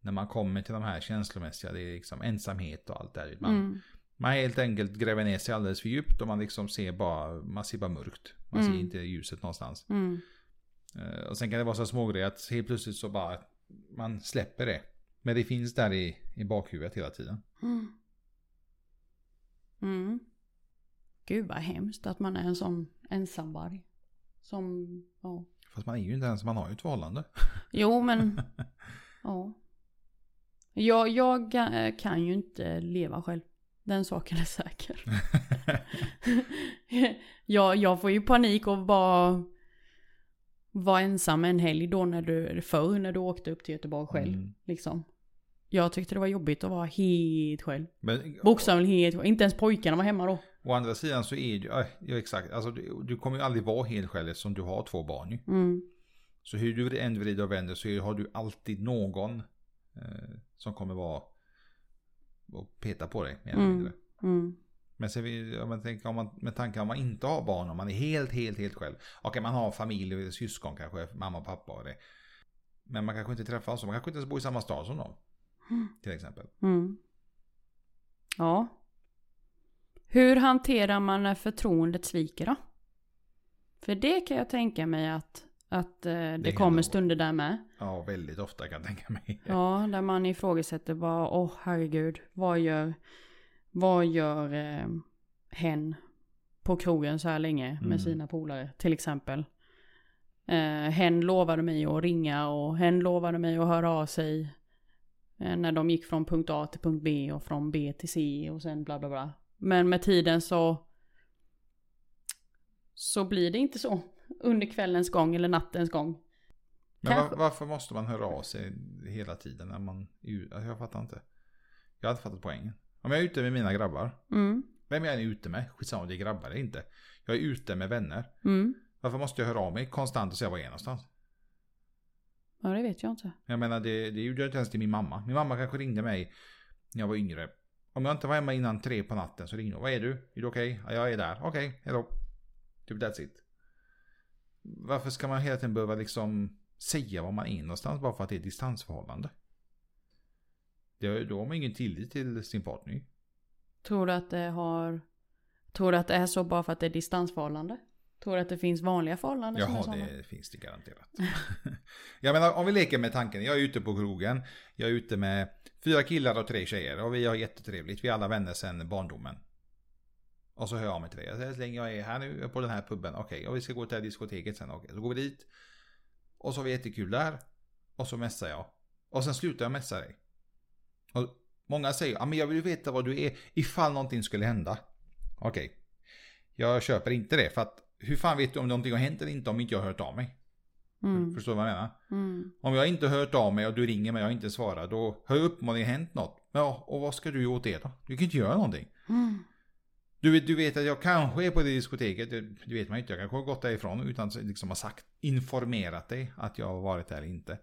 [SPEAKER 1] När man kommer till de här känslomässiga, det är liksom ensamhet och allt det där. Man,
[SPEAKER 2] mm,
[SPEAKER 1] man helt enkelt gräver ner sig alldeles för djupt och man liksom ser bara, man ser bara mörkt. Man ser
[SPEAKER 2] Mm.
[SPEAKER 1] inte ljuset någonstans.
[SPEAKER 2] mm,
[SPEAKER 1] Eh, Och sen kan det vara så smågrejer att helt plötsligt så bara man släpper det. Men det finns där i, i bakhuvudet hela tiden.
[SPEAKER 2] mm. Mm. Gud vad hemskt att man är en sån ensamvarg. Som, ja.
[SPEAKER 1] Fast man är ju inte ens, man har ju ett förhållande.
[SPEAKER 2] Jo men, ja. Jag, jag eh, kan ju inte leva själv. Den saken är säker. jag, jag får ju panik och bara vara ensam en helg då när du, förr när du åkte upp till Göteborg själv.
[SPEAKER 1] Mm.
[SPEAKER 2] Liksom. Jag tyckte det var jobbigt att vara helt själv.
[SPEAKER 1] Men
[SPEAKER 2] Bokstavligen helt själv. Inte ens pojkarna var hemma då.
[SPEAKER 1] å andra sidan så är det ju, ja, exakt, alltså du, du kommer ju aldrig vara helt själv som du har två barn ju.
[SPEAKER 2] Mm.
[SPEAKER 1] Så hur du än vrider och vänder så är- har du alltid någon eh, som kommer vara och peta på dig. mer eller
[SPEAKER 2] Mm.
[SPEAKER 1] mindre.
[SPEAKER 2] Mm.
[SPEAKER 1] Men sen, vill- ja, men tänk om man, med tanke om man inte har barn, om man är helt, helt, helt själv. Okej, man har familj, syskon kanske, mamma och pappa och det. Men man kanske inte träffar dem, så man kanske inte ens bor i samma stad som dem. Till exempel.
[SPEAKER 2] Mm. Ja. Hur hanterar man när förtroendet sviker då? För det kan jag tänka mig att, att eh, det,
[SPEAKER 1] händer
[SPEAKER 2] kommer
[SPEAKER 1] nog.
[SPEAKER 2] stunder där med.
[SPEAKER 1] Ja, väldigt ofta kan jag tänka mig.
[SPEAKER 2] Ja, där man ifrågasätter bara, åh herregud, vad gör, vad gör eh, hen på krogen så här länge med
[SPEAKER 1] Mm.
[SPEAKER 2] sina polare till exempel? Eh, hen lovade mig att ringa och hen lovade mig att höra av sig eh, när de gick från punkt A till punkt B och från B till C och sen bla bla bla. Men med tiden så så blir det inte så under kvällens gång eller nattens gång.
[SPEAKER 1] Men var,
[SPEAKER 2] Kanske.
[SPEAKER 1] varför måste man höra av sig hela tiden när man... Jag fattar inte. Jag hade fattat poängen. Om jag är ute med mina grabbar,
[SPEAKER 2] Mm,
[SPEAKER 1] vem jag än är ute med, skitsamma om det är grabbar eller inte. Jag är ute med vänner.
[SPEAKER 2] mm.
[SPEAKER 1] Varför måste jag höra av mig konstant och säga var jag är någonstans?
[SPEAKER 2] Ja, det vet jag inte.
[SPEAKER 1] Jag menar, det, det gjorde jag inte ens till min mamma. Min mamma kanske ringde mig när jag var yngre. Om jag inte var hemma innan tre på natten så ringde hon. Vad är du? Är du okej? Ja, jag är där. Okej, hejdå. Typ that's it. Varför ska man hela tiden behöva liksom säga var man är någonstans bara för att det är ett distansförhållande? Det, då har man ingen tillit till sin partner.
[SPEAKER 2] Tror du att det har... Tror du att det är så bara för att det är distansförhållande? Tror du att det finns vanliga förhållanden som är
[SPEAKER 1] Jaha,
[SPEAKER 2] sådana?
[SPEAKER 1] det finns det garanterat. jag menar, om vi leker med tanken. Jag är ute på krogen. Jag är ute med fyra killar och tre tjejer. Och vi har jättetrevligt. Vi är alla vänner sedan barndomen. Och så hör jag av mig till dig. Jag säger, Så länge jag är här nu på den här puben. Okej, och vi ska gå till det här diskoteket sen. Okej, så går vi dit. Och så har vi jättekul där. Och så messar jag. Och sen slutar jag messa dig. Och många säger, ja men jag vill ju veta vad du är ifall någonting skulle hända. Okej. Jag köper inte det för att hur fan vet du om någonting har hänt eller inte om inte jag har hört av mig?
[SPEAKER 2] Mm,
[SPEAKER 1] Förstår du vad jag menar?
[SPEAKER 2] mm,
[SPEAKER 1] Om jag inte har hört av mig och du ringer mig och jag inte svarar då hör jag upp om det har hänt något. Ja, och vad ska du göra åt det då? Du kan inte göra någonting.
[SPEAKER 2] mm,
[SPEAKER 1] Du, vet- du vet att jag kanske är på det diskoteket, det, det vet man ju inte. Jag kanske har gått därifrån utan att liksom ha sagt, informerat dig att jag har varit där eller inte.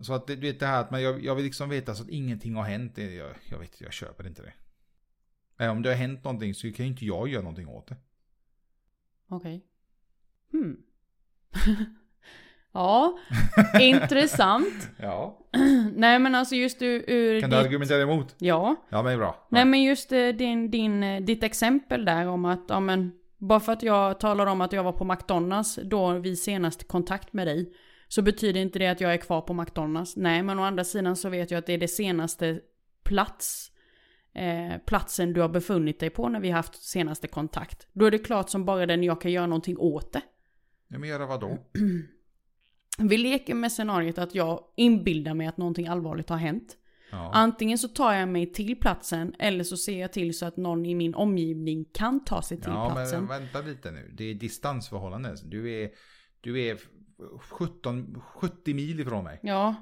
[SPEAKER 1] Så att det- du vet det här att man, jag, jag vill liksom veta så att ingenting har hänt. Det- Jag, jag vet, jag köper inte det. Nej, Om det har hänt någonting så kan ju inte jag göra någonting åt det.
[SPEAKER 2] Okej. Hmm. ja, intressant.
[SPEAKER 1] Ja.
[SPEAKER 2] Nej men alltså just ur... ur
[SPEAKER 1] Kan du
[SPEAKER 2] ditt-
[SPEAKER 1] argumentera emot?
[SPEAKER 2] Ja.
[SPEAKER 1] Ja, men bra.
[SPEAKER 2] Nej men just eh, din, din, eh, ditt exempel där om att, ja men, bara för att jag talar om att jag var på McDonalds då vi senast kontakt med dig, så betyder inte det att jag är kvar på McDonalds. Nej men å andra sidan så vet jag att det är det senaste plats, eh, platsen du har befunnit dig på när vi haft senaste kontakt. Då är det klart som bara den jag kan göra någonting åt det.
[SPEAKER 1] Ja, men göra vad då?
[SPEAKER 2] Vi leker med scenariet att jag inbildar mig att någonting allvarligt har hänt.
[SPEAKER 1] Ja.
[SPEAKER 2] Antingen så tar jag mig till platsen eller så ser jag till så att någon i min omgivning kan ta sig till
[SPEAKER 1] ja,
[SPEAKER 2] platsen.
[SPEAKER 1] men vänta lite nu. Det är distansförhållanden. Du är, du är 17, 70 mil ifrån mig.
[SPEAKER 2] Ja.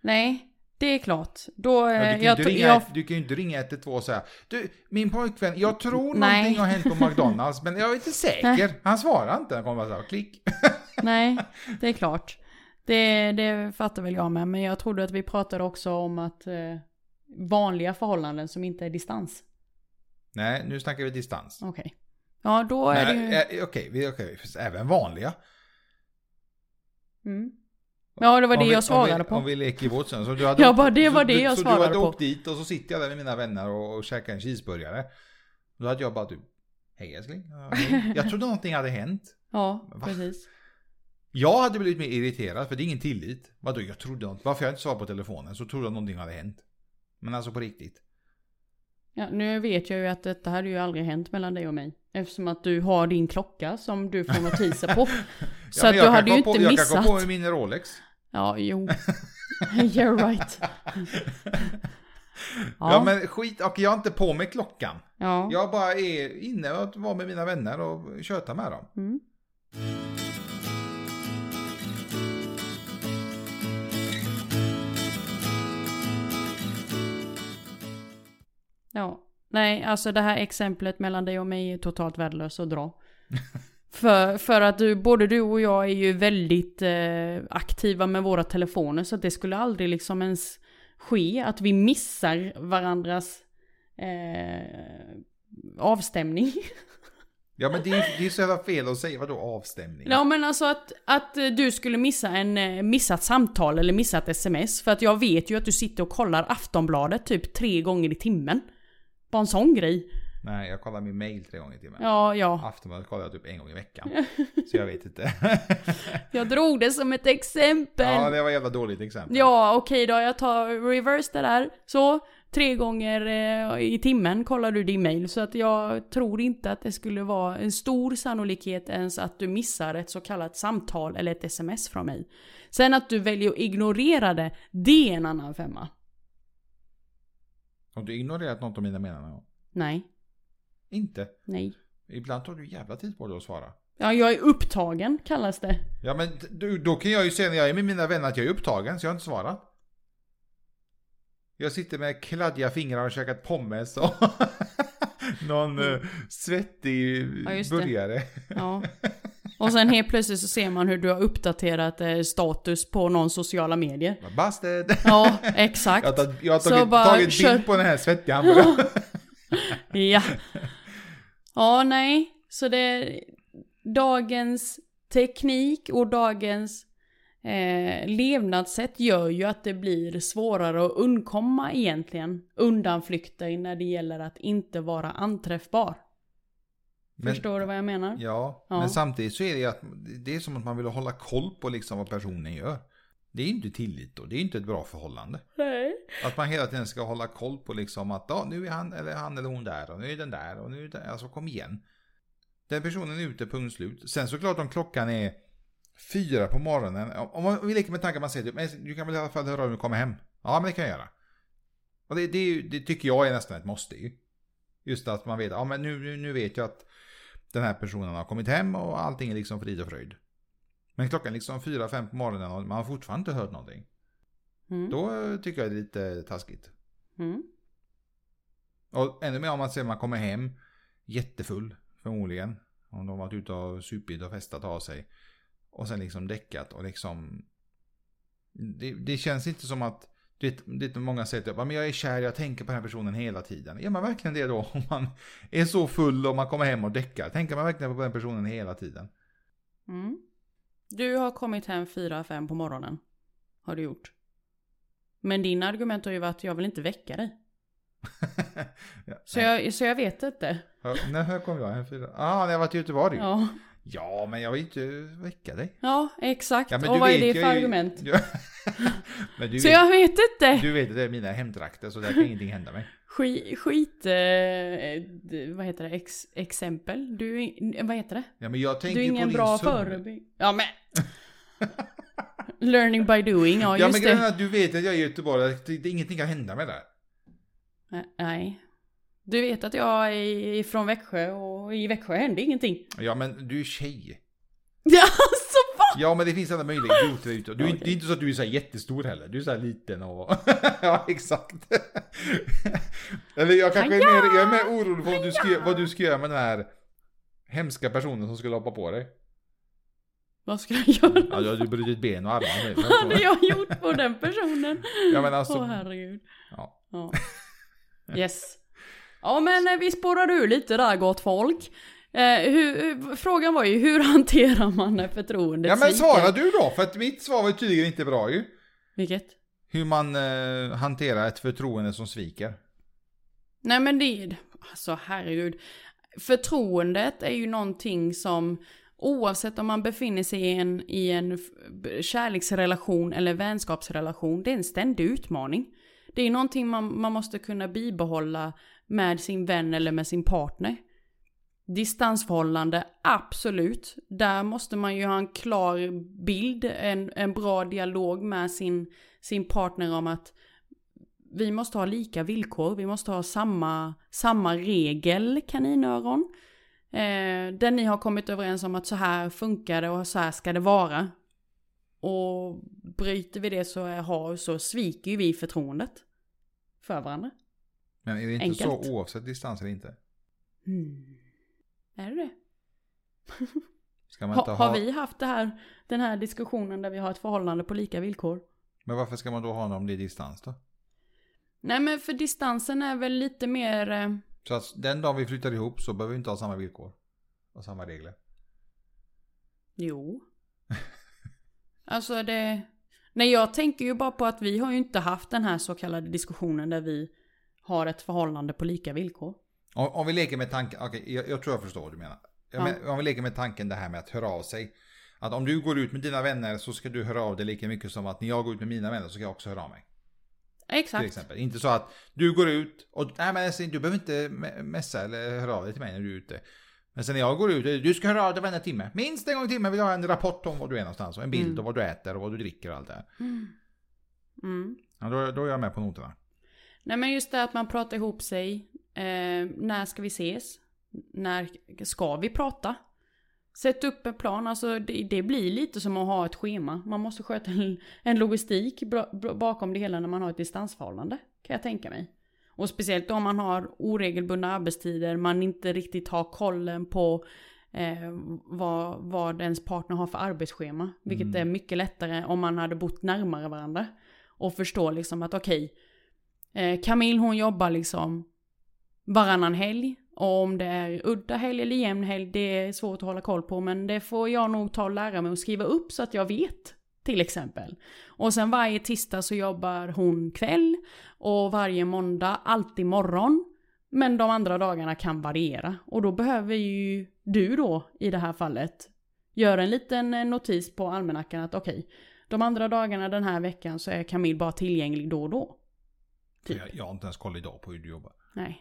[SPEAKER 2] Nej, det är klart. Då...
[SPEAKER 1] Ja,
[SPEAKER 2] eh,
[SPEAKER 1] du, kan
[SPEAKER 2] jag,
[SPEAKER 1] ju inte
[SPEAKER 2] to-
[SPEAKER 1] ringa,
[SPEAKER 2] jag,
[SPEAKER 1] du kan ju inte ringa 112 och säga Du, min pojkvän, jag tror
[SPEAKER 2] Nej.
[SPEAKER 1] någonting har hänt på McDonalds men jag är inte säker. Han svarar inte. Han kommer bara så här, klick.
[SPEAKER 2] nej, det är klart. Det, det fattar väl jag med. Men jag trodde att vi pratade också om att eh, vanliga förhållanden som inte är distans.
[SPEAKER 1] Nej, nu snackar vi distans.
[SPEAKER 2] Okej. Ja, då är
[SPEAKER 1] Nej,
[SPEAKER 2] det ju...
[SPEAKER 1] eh, Okej, vi- okej, även vanliga.
[SPEAKER 2] Mm. Ja, det var
[SPEAKER 1] Om
[SPEAKER 2] det
[SPEAKER 1] vi- om
[SPEAKER 2] jag svarade
[SPEAKER 1] vi,
[SPEAKER 2] på.
[SPEAKER 1] Om vi leker i vårt sön. Så du hade
[SPEAKER 2] Ja,
[SPEAKER 1] åkt-
[SPEAKER 2] bara det
[SPEAKER 1] så
[SPEAKER 2] var det
[SPEAKER 1] du,
[SPEAKER 2] jag
[SPEAKER 1] så du
[SPEAKER 2] svarade
[SPEAKER 1] hade
[SPEAKER 2] på.
[SPEAKER 1] åkt dit och så sitter jag där med mina vänner och, och käkar en cheeseburgare. Då hade jag bara typ, hej älskling. Ja, hej. Jag trodde någonting hade hänt.
[SPEAKER 2] Ja,
[SPEAKER 1] Va?
[SPEAKER 2] precis.
[SPEAKER 1] Jag hade blivit mer irriterad för det är ingen tillit. Vadå, jag trodde något. Varför jag inte svarade på telefonen så trodde jag någonting hade hänt. Men alltså på riktigt.
[SPEAKER 2] Ja, nu vet jag ju att detta hade ju aldrig hänt mellan dig och mig. Eftersom att du har din klocka som du får notiser på. Så
[SPEAKER 1] men jag
[SPEAKER 2] att du
[SPEAKER 1] kan
[SPEAKER 2] hade ju
[SPEAKER 1] gå på,
[SPEAKER 2] inte
[SPEAKER 1] Jag kan gå på
[SPEAKER 2] missat.
[SPEAKER 1] min Rolex.
[SPEAKER 2] Ja, jo. You're right.
[SPEAKER 1] Ja, men skit, och jag har inte på mig klockan.
[SPEAKER 2] Ja.
[SPEAKER 1] Jag bara är inne och var med mina vänner och tjötar med dem.
[SPEAKER 2] Mm. Ja. Nej, alltså det här exemplet mellan dig och mig är totalt värdelöst att dra. för, för att du, både du och jag är ju väldigt eh, aktiva med våra telefoner så att det skulle aldrig liksom ens ske att vi missar varandras eh, avstämning.
[SPEAKER 1] Ja men det är, det är så jävla fel att säga vadå avstämning?
[SPEAKER 2] Ja men alltså att, att du skulle missa en, eh, missa ett samtal eller missa ett sms. För att jag vet ju att du sitter och kollar Aftonbladet typ tre gånger i timmen. Bara en sån grej.
[SPEAKER 1] Nej jag kollar min mail tre gånger i timmen.
[SPEAKER 2] Ja, ja.
[SPEAKER 1] Aftonbladet kollar jag typ en gång i veckan. Så jag vet inte.
[SPEAKER 2] Jag drog det som ett exempel.
[SPEAKER 1] ja det var ett jävla dåligt exempel.
[SPEAKER 2] Ja, okej då. Jag tar reverse det där. Så, tre gånger eh, i timmen kollar du din mail. Så att jag tror inte att det skulle vara en stor sannolikhet ens att du missar ett så kallat samtal eller ett sms från mig. Sen att du väljer att ignorera det, det är en annan femma.
[SPEAKER 1] Har du ignorerat något av mina meddelanden?
[SPEAKER 2] Nej,
[SPEAKER 1] Inte.
[SPEAKER 2] nej.
[SPEAKER 1] Ibland tar du jävla tid på dig att svara.
[SPEAKER 2] Ja, jag är upptagen kallas det.
[SPEAKER 1] Ja men du, då kan jag ju säga när jag är med mina vänner att jag är upptagen så jag har inte svarat. Jag sitter med kladdiga fingrar och käkat pommes och någon eh, svettig
[SPEAKER 2] Ja, just det.
[SPEAKER 1] burgare.
[SPEAKER 2] Ja. Och sen helt plötsligt så ser man hur du har uppdaterat eh, status på någon sociala medier.
[SPEAKER 1] Busted!
[SPEAKER 2] Ja,
[SPEAKER 1] Jag har
[SPEAKER 2] exakt.
[SPEAKER 1] tagit, jag har
[SPEAKER 2] Så
[SPEAKER 1] tagit,
[SPEAKER 2] bara
[SPEAKER 1] tagit
[SPEAKER 2] kör-
[SPEAKER 1] bild på den här svettiga hamburgaren.
[SPEAKER 2] Ja. Ja, nej. Så det... Dagens teknik och dagens eh, levnadssätt gör ju att det blir svårare att undkomma egentligen undanflykter när det gäller att inte vara anträffbar.
[SPEAKER 1] Men-
[SPEAKER 2] Förstår du vad jag menar?
[SPEAKER 1] Ja,
[SPEAKER 2] Ja.
[SPEAKER 1] men samtidigt så är det ju att det är som att man vill hålla koll på liksom vad personen gör. Det är ju inte tillit då, det är ju inte ett bra förhållande.
[SPEAKER 2] Nej.
[SPEAKER 1] Att man hela tiden ska hålla koll på liksom att ja, nu är han eller, han eller hon där och nu är den där och nu är den, alltså kom igen. Den personen är ute, punkt slut. Sen såklart om klockan är fyra på morgonen, om- om man- om vi leker med tanken att man säger typ, "Men du kan väl i alla fall höra om du kommer hem? Ja, men det kan jag göra. Och det, det, är ju- det tycker jag är nästan ett måste ju. Just att man vet, ja men nu, nu- nu vet jag att den här personen har kommit hem och allting är liksom frid och fröjd. Men klockan är liksom fyra, fem på morgonen och man har fortfarande inte hört någonting.
[SPEAKER 2] Mm.
[SPEAKER 1] Då tycker jag det är lite taskigt.
[SPEAKER 2] Mm.
[SPEAKER 1] Och ännu mer om man ser man kommer hem jättefull förmodligen. Om de har varit ute och supit och festat av sig. Och sen liksom däckat och liksom. Det, det känns inte som att. Det är lite många säger typ, "Ja, men jag är kär, jag tänker på den här personen hela tiden. Är man verkligen det då? Om man är så full och man kommer hem och däckar. Tänker man verkligen på den personen hela tiden?
[SPEAKER 2] Mm. Du har kommit hem fyra fem på morgonen. Har du gjort. Men din argument har ju varit att jag vill inte väcka dig.
[SPEAKER 1] ja,
[SPEAKER 2] Så jag, så jag vet inte.
[SPEAKER 1] Ja, När här kom jag? En fyra? Ah, när jag var i Göteborg? Ja.
[SPEAKER 2] Ja,
[SPEAKER 1] ja, men jag vill inte väcka dig.
[SPEAKER 2] ja exakt.
[SPEAKER 1] Ja, men
[SPEAKER 2] Och
[SPEAKER 1] du
[SPEAKER 2] vad är
[SPEAKER 1] vet,
[SPEAKER 2] det för
[SPEAKER 1] jag är ju-
[SPEAKER 2] argument?
[SPEAKER 1] Ja. men du,
[SPEAKER 2] Så
[SPEAKER 1] vet,
[SPEAKER 2] jag vet inte.
[SPEAKER 1] du vet att det är mina hemtrakter så där kan ingenting hända mig.
[SPEAKER 2] Skit, skit eh, d- vad heter det, Ex, exempel? Du, är in- vad heter det?
[SPEAKER 1] Ja, men jag tänker
[SPEAKER 2] Du är
[SPEAKER 1] ju på
[SPEAKER 2] ingen
[SPEAKER 1] din
[SPEAKER 2] bra
[SPEAKER 1] son.
[SPEAKER 2] förebild. Ja men. Learning by doing, ja
[SPEAKER 1] Ja,
[SPEAKER 2] just
[SPEAKER 1] men grejen är
[SPEAKER 2] det.
[SPEAKER 1] att du vet att jag är i Göteborg, att det, det, ingenting kan hända med det.
[SPEAKER 2] Ä- Nej. Du vet att jag är från Växjö och i Växjö hände ingenting.
[SPEAKER 1] Ja men du är tjej.
[SPEAKER 2] Ja, alltså vad?
[SPEAKER 1] Ja men det finns alla möjligheter ute och ute. Du, är inte-
[SPEAKER 2] Ah! Okej.
[SPEAKER 1] Det är inte så att du är så här jättestor heller. Du är så här liten och... ja exakt. Eller jag kanske är mer, jag är mer orolig för vad du, ska, vad du ska göra med den här hemska personen som skulle hoppa på dig.
[SPEAKER 2] Vad ska jag göra?
[SPEAKER 1] Ja, du har ju brutit ben och armar nu.
[SPEAKER 2] Vad hade jag gjort på den personen?
[SPEAKER 1] Ja, men alltså-
[SPEAKER 2] Åh herregud.
[SPEAKER 1] Ja.
[SPEAKER 2] Ja. Yes. Ja men eh, vi spårar ur lite där gott folk. Eh, hur, hur- frågan var ju hur hanterar man när förtroendet
[SPEAKER 1] Ja men
[SPEAKER 2] sviker?
[SPEAKER 1] svara du då, för att mitt svar var ju tydligen inte bra ju.
[SPEAKER 2] Vilket?
[SPEAKER 1] Hur man eh, hanterar ett förtroende som sviker.
[SPEAKER 2] Nej men det, alltså herregud. Förtroendet är ju någonting som oavsett om man befinner sig i en, i en f- kärleksrelation eller vänskapsrelation, det är en ständig utmaning. Det är någonting man, man måste kunna bibehålla med sin vän eller med sin partner. Distansförhållande, absolut. Där måste man ju ha en klar bild, en, en bra dialog med sin, sin partner om att vi måste ha lika villkor, vi måste ha samma, samma regel kaninöron. Eh, där ni har kommit överens om att så här funkar det och så här ska det vara. Och bryter vi det så, har, så sviker ju vi förtroendet för varandra.
[SPEAKER 1] Men är det inte
[SPEAKER 2] Enkelt.
[SPEAKER 1] så oavsett distans eller inte?
[SPEAKER 2] Hmm. Är det det?
[SPEAKER 1] Ska man inte
[SPEAKER 2] Ha,
[SPEAKER 1] ha...
[SPEAKER 2] har vi haft det här, den här diskussionen där vi har ett förhållande på lika villkor?
[SPEAKER 1] Men varför ska man då ha någon om det är distans då?
[SPEAKER 2] Nej men för distansen är väl lite mer... eh,
[SPEAKER 1] Så att den dagen vi flyttar ihop så behöver vi inte ha samma villkor. Och samma regler.
[SPEAKER 2] Jo. alltså det... Nej jag tänker ju bara på att vi har ju inte haft den här så kallade diskussionen där vi har ett förhållande på lika villkor.
[SPEAKER 1] Om, om vi leker med tanken, okej jag, jag tror jag förstår vad du menar. Jag
[SPEAKER 2] Ja.
[SPEAKER 1] men, om vi leker med tanken det här med att höra av sig. Att om du går ut med dina vänner så ska du höra av dig lika mycket som att när jag går ut med mina vänner så ska jag också höra av mig. Till
[SPEAKER 2] Exakt.
[SPEAKER 1] exempel. Inte så att du går ut och nej men Essin, du behöver inte me- messa eller höra av dig till mig när du är ute. Men sen när jag går ut, du ska höra av dig varje timme. Minst en gång i timmen vill jag ha en rapport om var du är någonstans och en bild
[SPEAKER 2] Mm.
[SPEAKER 1] om vad du äter och vad du dricker och allt det här.
[SPEAKER 2] Mm. Mm.
[SPEAKER 1] Ja, då, då är jag med på noterna.
[SPEAKER 2] Nej men just det att man pratar ihop sig. Eh, när ska vi ses? När ska vi prata? Sätt upp en plan, alltså det, det blir lite som att ha ett schema. Man måste sköta en, en logistik bra, bra, bakom det hela när man har ett distansförhållande. Kan jag tänka mig. Och speciellt om man har oregelbundna arbetstider, man inte riktigt har kollen på eh, vad, vad ens partner har för arbetsschema. Vilket
[SPEAKER 1] Mm.
[SPEAKER 2] är mycket lättare om man hade bott närmare varandra. Och förstår liksom att okej, eh, Camille hon jobbar liksom varannan helg. Och om det är udda helg eller jämn helg, det är svårt att hålla koll på. Men det får jag nog ta och lära mig att skriva upp så att jag vet. Till exempel. Och sen varje tisdag så jobbar hon kväll. Och varje måndag, alltid morgon. Men de andra dagarna kan variera. Och då behöver ju du då, i det här fallet, göra en liten eh, notis på almanackan att okej, de andra dagarna den här veckan så är Camille bara tillgänglig då och då. Typ.
[SPEAKER 1] Jag, jag har inte ens koll idag på hur du jobbar.
[SPEAKER 2] Nej.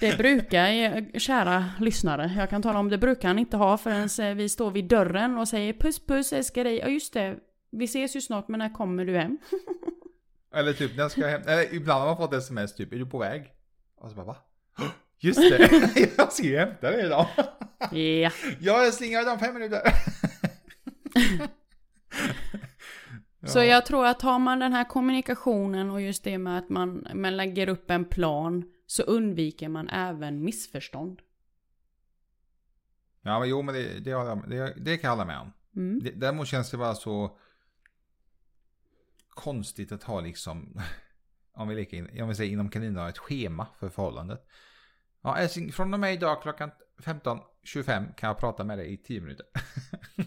[SPEAKER 2] Det brukar, eh, kära lyssnare, jag kan tala om det brukar han inte ha förrän eh, vi står vid dörren och säger puss puss älskar dig. Ja just det, vi ses ju snart men när kommer du hem?
[SPEAKER 1] Eller typ när ska jag hem? Eller ibland har man fått sms typ, är du på väg? Och så bara va? Just det, jag ska ju hämta dig idag.
[SPEAKER 2] Ja.
[SPEAKER 1] Ja, jag slingar idag om fem minuter.
[SPEAKER 2] Så jag tror att har man den här kommunikationen och just det med att man, man lägger upp en plan så undviker man även missförstånd.
[SPEAKER 1] Ja, men jo, men det, det, har jag- det, det kan jag hålla med om.
[SPEAKER 2] Mm.
[SPEAKER 1] Det, däremot känns det bara så konstigt att ha liksom, om vi, leker in, om vi säger inom kaninen, ett schema för förhållandet. Ja, älskling, från och med idag klockan 15.25 kan jag prata med dig i 10 minuter.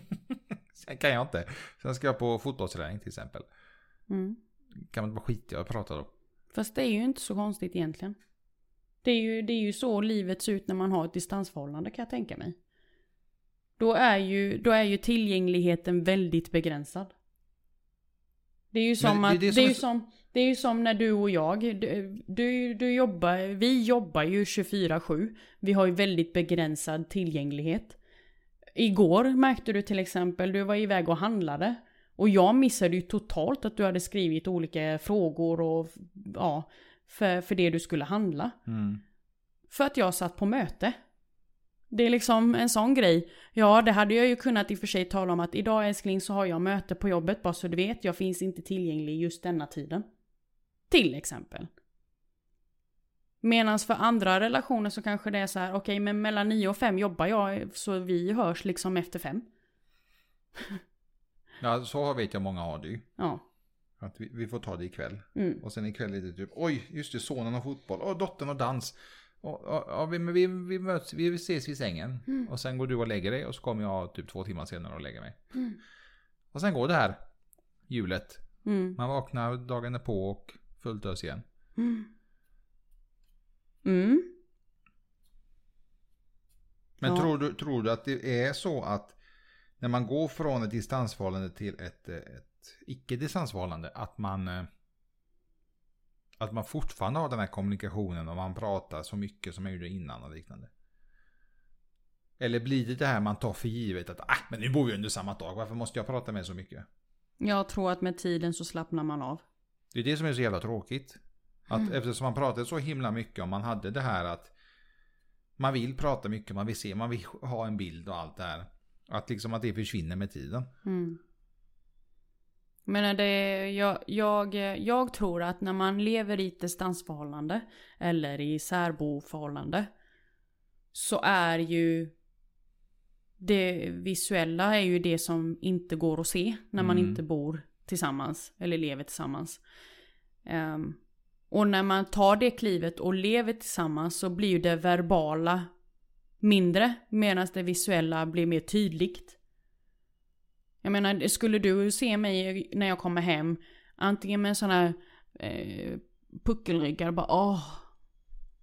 [SPEAKER 1] Sen kan jag inte. Sen ska jag på fotbollsträning till exempel.
[SPEAKER 2] Mm.
[SPEAKER 1] Kan man inte bara skita i att prata då?
[SPEAKER 2] Fast det är ju inte så konstigt egentligen. Det är ju, det är ju så livet ser ut när man har ett distansförhållande kan jag tänka mig. Då är ju, då är ju tillgängligheten väldigt begränsad. Det är ju som
[SPEAKER 1] det är
[SPEAKER 2] att,
[SPEAKER 1] det
[SPEAKER 2] det
[SPEAKER 1] som
[SPEAKER 2] är
[SPEAKER 1] är
[SPEAKER 2] ju
[SPEAKER 1] så-
[SPEAKER 2] som, det är ju som när du och jag, du, du, du jobbar, vi jobbar ju 24-7. Vi har ju väldigt begränsad tillgänglighet. Igår märkte du till exempel, du var iväg och handlade. Och jag missade ju totalt att du hade skrivit olika frågor och ja, för, för det du skulle handla. För att jag satt på möte. Det är liksom en sån grej. Ja, det hade jag ju kunnat i och för sig tala om att idag älskling så har jag möte på jobbet bara så du vet. Jag finns inte tillgänglig just denna tiden. Till exempel. Medan för andra relationer så kanske det är så här, okej men mellan 9 och 5 jobbar jag så vi hörs liksom efter 5.
[SPEAKER 1] Ja, så vet jag många har det ju.
[SPEAKER 2] Ja.
[SPEAKER 1] Att vi, vi får ta det ikväll.
[SPEAKER 2] Mm.
[SPEAKER 1] Och sen ikväll är det typ, oj, just det, sonen har fotboll, och dottern har dans. Och, och, ja, vi, men vi, vi möts, vi ses vid sängen. Och sen går du och lägger dig och så kommer jag typ två timmar senare och lägger mig. Och sen går det här hjulet.
[SPEAKER 2] Mm.
[SPEAKER 1] Man vaknar dagen är på och fullt ös igen.
[SPEAKER 2] Mm.
[SPEAKER 1] Men
[SPEAKER 2] Ja.
[SPEAKER 1] tror, du, tror du att det är så att när man går från ett distansförhållande till ett, eh, ett icke-distansförhållande att man eh, att man fortfarande har den här kommunikationen och man pratar så mycket som man gjorde innan och liknande? Eller blir det det här man tar för givet att ah, men nu bor vi under samma tak, varför måste jag prata med så mycket?
[SPEAKER 2] Jag tror att med tiden så slappnar man av.
[SPEAKER 1] Det är det som är så jävla tråkigt. Att
[SPEAKER 2] Mm.
[SPEAKER 1] Eftersom man pratade så himla mycket om man hade det här att man vill prata mycket, man vill se, man vill ha en bild och allt det här. Att liksom att det försvinner med tiden.
[SPEAKER 2] Mm. Men det, är- jag, jag, jag tror att när man lever i ett distansförhållande eller i särboförhållande så är ju det visuella är ju det som inte går att se när man
[SPEAKER 1] Mm.
[SPEAKER 2] inte bor tillsammans eller lever tillsammans. Ehm, och när man tar det klivet och lever tillsammans så blir ju det verbala mindre medan det visuella blir mer tydligt. Jag menar, skulle du se mig när jag kommer hem, antingen med en sån här eh, puckelryggad, bara åh.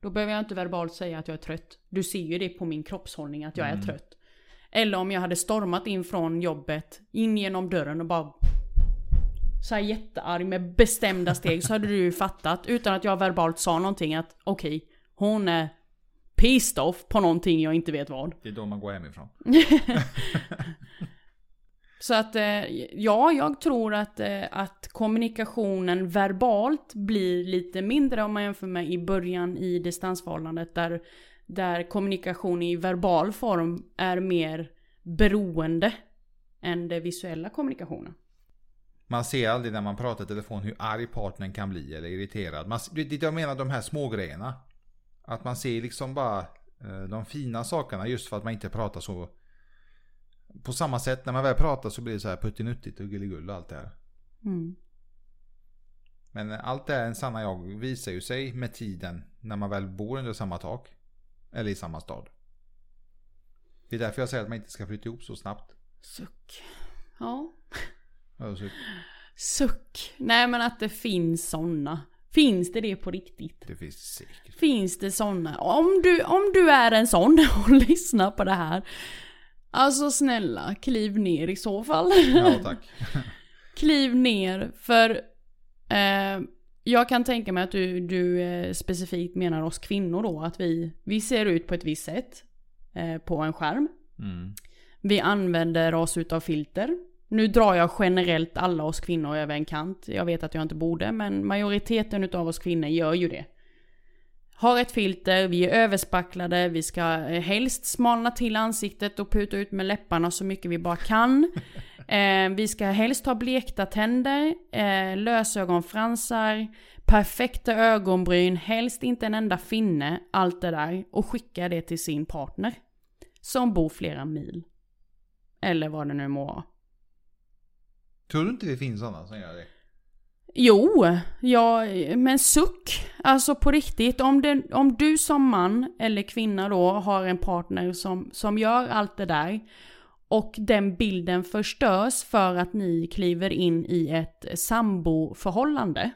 [SPEAKER 2] Då behöver jag inte verbalt säga att jag är trött. Du ser ju det på min kroppshållning att jag är
[SPEAKER 1] Mm.
[SPEAKER 2] trött. Eller om jag hade stormat in från jobbet, in genom dörren och bara så här jättearg med bestämda steg så hade du ju fattat utan att jag verbalt sa någonting att okej, hon är pissed off på någonting jag inte vet vad.
[SPEAKER 1] Det är då man går hemifrån.
[SPEAKER 2] Så att eh, ja, jag tror att, eh, att kommunikationen verbalt blir lite mindre om man jämför med i början i distansförhållandet där, där kommunikation i verbal form är mer beroende än den visuella kommunikationen.
[SPEAKER 1] Man ser aldrig när man pratar i telefon hur arg partnern kan bli eller irriterad. Man, det det jag menar de här små grejerna. Att man ser liksom bara eh, de fina sakerna just för att man inte pratar så. På samma sätt när man väl pratar så blir det så här puttinuttigt och gulligull och allt det här. Men eh, allt det här en sanna jag visar ju sig med tiden när man väl bor under samma tak. Eller i samma stad. Det är därför jag säger att man inte ska flytta ihop så snabbt.
[SPEAKER 2] Suck. Ja.
[SPEAKER 1] Alltså,
[SPEAKER 2] Suck. Nej men att det finns sådana. Finns det det på riktigt?
[SPEAKER 1] Det finns säkert.
[SPEAKER 2] Finns det såna? Om du, om du är en sån och lyssnar på det här. Alltså snälla, kliv ner i så fall.
[SPEAKER 1] Ja tack.
[SPEAKER 2] kliv ner, för eh, jag kan tänka mig att du, du eh, specifikt menar oss kvinnor då. Att vi, vi ser ut på ett visst sätt eh, på en skärm.
[SPEAKER 1] Mm.
[SPEAKER 2] Vi använder oss utav filter. Nu drar jag generellt alla oss kvinnor över en kant. Jag vet att jag inte borde, men majoriteten utav oss kvinnor gör ju det. Har ett filter, vi är överspacklade, vi ska eh, helst smalna till ansiktet och puta ut med läpparna så mycket vi bara kan. Eh, vi ska helst ha blekta tänder, eh, lösögonfransar, perfekta ögonbryn, helst inte en enda finne, allt det där. Och skicka det till sin partner. Som bor flera mil. Eller vad det nu må vara.
[SPEAKER 1] Tror du inte det finns sådana som gör det?
[SPEAKER 2] Jo, ja, men suck. Alltså på riktigt, om, det, om du som man eller kvinna då har en partner som, som gör allt det där och den bilden förstörs för att ni kliver in i ett samboförhållande.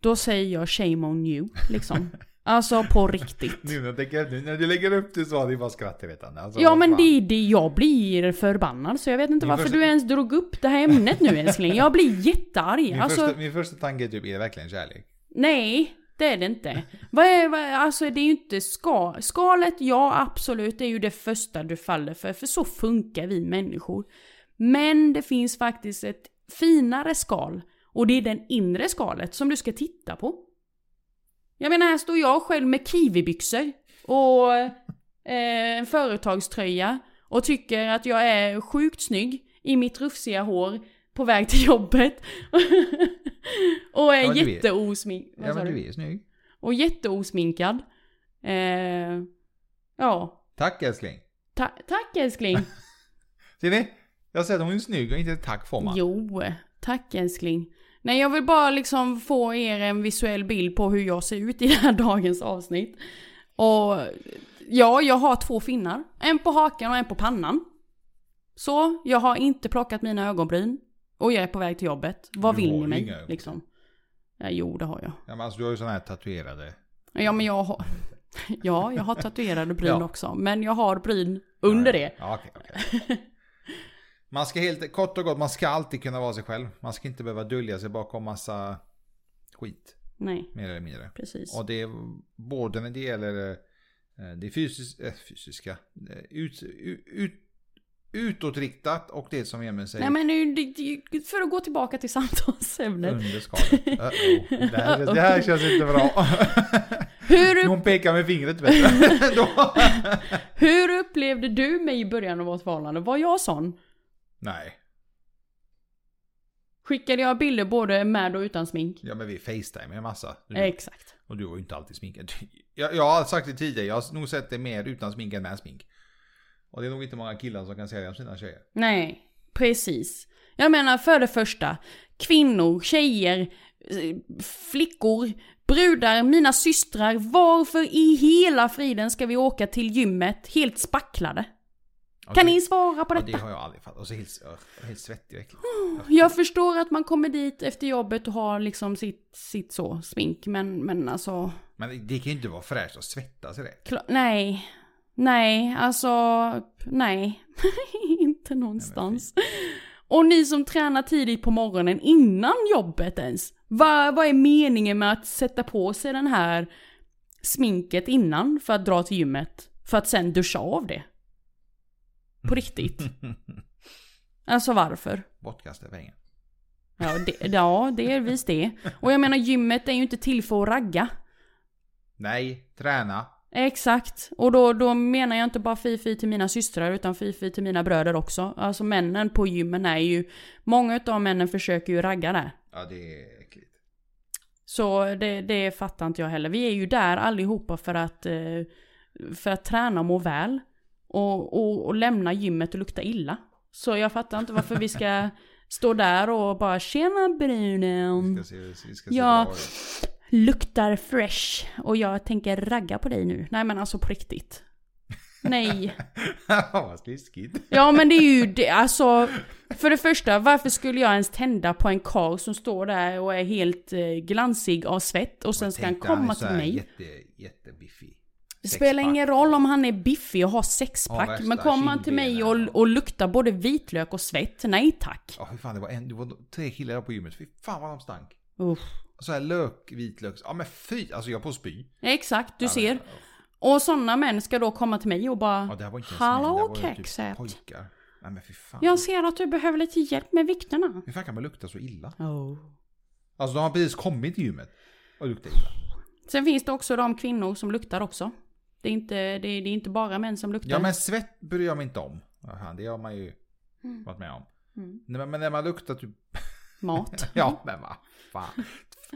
[SPEAKER 2] Då säger jag shame on you, liksom. Alltså på riktigt.
[SPEAKER 1] Nu när, jag tänker efter, när du lägger upp det så har det bara skrattretande. Alltså,
[SPEAKER 2] Ja
[SPEAKER 1] vad
[SPEAKER 2] men
[SPEAKER 1] fan.
[SPEAKER 2] det är det, jag blir förbannad så jag vet inte
[SPEAKER 1] Min
[SPEAKER 2] varför
[SPEAKER 1] första-
[SPEAKER 2] du ens drog upp det här ämnet nu älskling. Jag blir jättearg.
[SPEAKER 1] Min,
[SPEAKER 2] Alltså,
[SPEAKER 1] första, min första tanke är typ, är det verkligen kärlek?
[SPEAKER 2] nej det är det inte. Vad är, vad, alltså det är ju inte ska, skalet, ja absolut, det är ju det första du faller för, för så funkar vi människor. Men det finns faktiskt ett finare skal och det är den inre skalet som du ska titta på. Jag menar här står jag själv med kiwibyxor och eh, en företagströja och tycker att jag är sjukt snygg i mitt rufsiga hår på väg till jobbet. och är
[SPEAKER 1] Ja, men du är-
[SPEAKER 2] jätteosmink... vad
[SPEAKER 1] Ja
[SPEAKER 2] sa
[SPEAKER 1] men
[SPEAKER 2] du?
[SPEAKER 1] du är snygg.
[SPEAKER 2] Och jätteosminkad. Eh, ja.
[SPEAKER 1] Tack älskling.
[SPEAKER 2] Ta- tack älskling.
[SPEAKER 1] Ser ni? Jag säger att hon är snygg och inte ett tack får man.
[SPEAKER 2] Jo, tack älskling. Nej, jag vill bara liksom få er en visuell bild på hur jag ser ut i det här dagens avsnitt. Och ja, jag har två finnar. En på hakan och en på pannan. Så, jag har inte plockat mina ögonbryn. Och jag är på väg till jobbet. Vad
[SPEAKER 1] Du
[SPEAKER 2] vill
[SPEAKER 1] har
[SPEAKER 2] ni
[SPEAKER 1] ju
[SPEAKER 2] mig?
[SPEAKER 1] inga ögonbryn.
[SPEAKER 2] Liksom. Ja, jo, det har jag.
[SPEAKER 1] Ja, men alltså, du har ju sådana här tatuerade.
[SPEAKER 2] Ja, men jag har... Ja, jag har tatuerade bryn
[SPEAKER 1] Ja.
[SPEAKER 2] också. Men jag har bryn under
[SPEAKER 1] Ja,
[SPEAKER 2] det.
[SPEAKER 1] Ja, okej, okej. Man ska helt kort och gott, man ska alltid kunna vara sig själv. Man ska inte behöva dölja sig bakom massa skit.
[SPEAKER 2] Nej,
[SPEAKER 1] Mer eller mindre.
[SPEAKER 2] precis.
[SPEAKER 1] Och det är både när det gäller eh, det fysiskt- eh, fysiska, eh, ut, ut, utåtriktat och det som Emil säger.
[SPEAKER 2] Nej men det är ju- det- det- för att gå tillbaka till
[SPEAKER 1] Mm.
[SPEAKER 2] samtalsämnet.
[SPEAKER 1] Underskalet. Uh-oh. Det, här, det här känns inte bra.
[SPEAKER 2] Hur,
[SPEAKER 1] Hon pekar med fingret vet du. Då-
[SPEAKER 2] hur upplevde du mig i början av vårt förhållande? Var jag sån?
[SPEAKER 1] Nej,
[SPEAKER 2] Skickade jag bilder både med och utan smink?
[SPEAKER 1] ja men vi facetimar en massa.
[SPEAKER 2] Exakt.
[SPEAKER 1] Och du var ju inte alltid sminkad. Jag, jag har sagt det tidigare, jag har nog sett det mer utan smink än med smink. Och det är nog inte många killar som kan säga det om sina tjejer.
[SPEAKER 2] Nej, precis. Jag menar för det första, kvinnor, tjejer, eh, flickor, brudar, mina systrar. Varför i hela friden ska vi åka till gymmet helt spacklade?
[SPEAKER 1] Och
[SPEAKER 2] Kan
[SPEAKER 1] det-
[SPEAKER 2] ni svara på
[SPEAKER 1] Ja, det
[SPEAKER 2] detta?
[SPEAKER 1] har jag aldrig fattat. Och så helt, öh, helt svettig och äcklig.
[SPEAKER 2] Jag förstår att man kommer dit efter jobbet och har liksom sitt, sitt så, smink, men, men alltså...
[SPEAKER 1] Men det kan ju inte vara fräscht att svettas i det.
[SPEAKER 2] Kla- nej. Nej, alltså nej. inte någonstans. Och ni som tränar tidigt på morgonen innan jobbet ens. Vad, vad är meningen med att sätta på sig den här sminket innan för att dra till gymmet? För att sen duscha av det? På riktigt. Alltså varför?
[SPEAKER 1] Bortkastade pengar.
[SPEAKER 2] Ja det, ja, det är visst det. Och jag menar gymmet är ju inte till för att ragga.
[SPEAKER 1] Nej, träna.
[SPEAKER 2] Exakt. Och då, då menar jag inte bara fifi till mina systrar utan fifi till mina bröder också. Alltså männen på gymmen är ju... Många utav männen försöker ju ragga där.
[SPEAKER 1] Ja, det är äckligt.
[SPEAKER 2] Så det, det fattar inte jag heller. Vi är ju där allihopa för att, eh, för att träna och må väl. Och, och, och lämna gymmet och lukta illa. Så jag fattar inte varför vi ska stå där och bara tjena
[SPEAKER 1] Vi
[SPEAKER 2] brunen.
[SPEAKER 1] ska se, vi ska se
[SPEAKER 2] Ja.
[SPEAKER 1] bra ut.
[SPEAKER 2] luktar fresh och jag tänker ragga på dig nu. Nej men alltså på riktigt. Nej.
[SPEAKER 1] Vad sliskigt.
[SPEAKER 2] Ja men det är ju det, alltså. För det första, varför skulle jag ens tända på en karl som står där och är helt eh, glansig av svett och sen ska han
[SPEAKER 1] Tänkte han är
[SPEAKER 2] komma
[SPEAKER 1] så
[SPEAKER 2] till
[SPEAKER 1] här
[SPEAKER 2] mig.
[SPEAKER 1] Jätte, jättebiffig.
[SPEAKER 2] Det spelar
[SPEAKER 1] sexpack.
[SPEAKER 2] ingen roll om han är biffig och har sexpack.
[SPEAKER 1] Ja, värsta
[SPEAKER 2] men kommer han till mig och,
[SPEAKER 1] kindbenen.
[SPEAKER 2] och luktar både vitlök och svett, nej tack.
[SPEAKER 1] Ja, fy fan, det var, en, det var tre killar på gymmet. Fy fan vad de stank.
[SPEAKER 2] Uff.
[SPEAKER 1] Så här lök, vitlök. Ja men fy, alltså jag på att spy.
[SPEAKER 2] Exakt, du ser.
[SPEAKER 1] Ja,
[SPEAKER 2] Och sådana män ska då komma till mig och bara...
[SPEAKER 1] det här var inte ens
[SPEAKER 2] Hallå,
[SPEAKER 1] män, det här var ju typ
[SPEAKER 2] kexet.
[SPEAKER 1] pojkar. Nej men fy fan.
[SPEAKER 2] Jag ser att du behöver lite hjälp med vikterna.
[SPEAKER 1] Hur fan kan man lukta så illa?
[SPEAKER 2] Oh.
[SPEAKER 1] Alltså de har precis kommit till gymmet och luktar illa.
[SPEAKER 2] Sen finns det också de kvinnor som luktar också. Det är inte, det är, det är inte bara män som luktar.
[SPEAKER 1] Ja men svett bryr jag mig inte om. Ja, fan, det har man ju
[SPEAKER 2] Mm.
[SPEAKER 1] varit med om. Nej, men- men när man luktar typ...
[SPEAKER 2] Mat.
[SPEAKER 1] Ja men vad fan.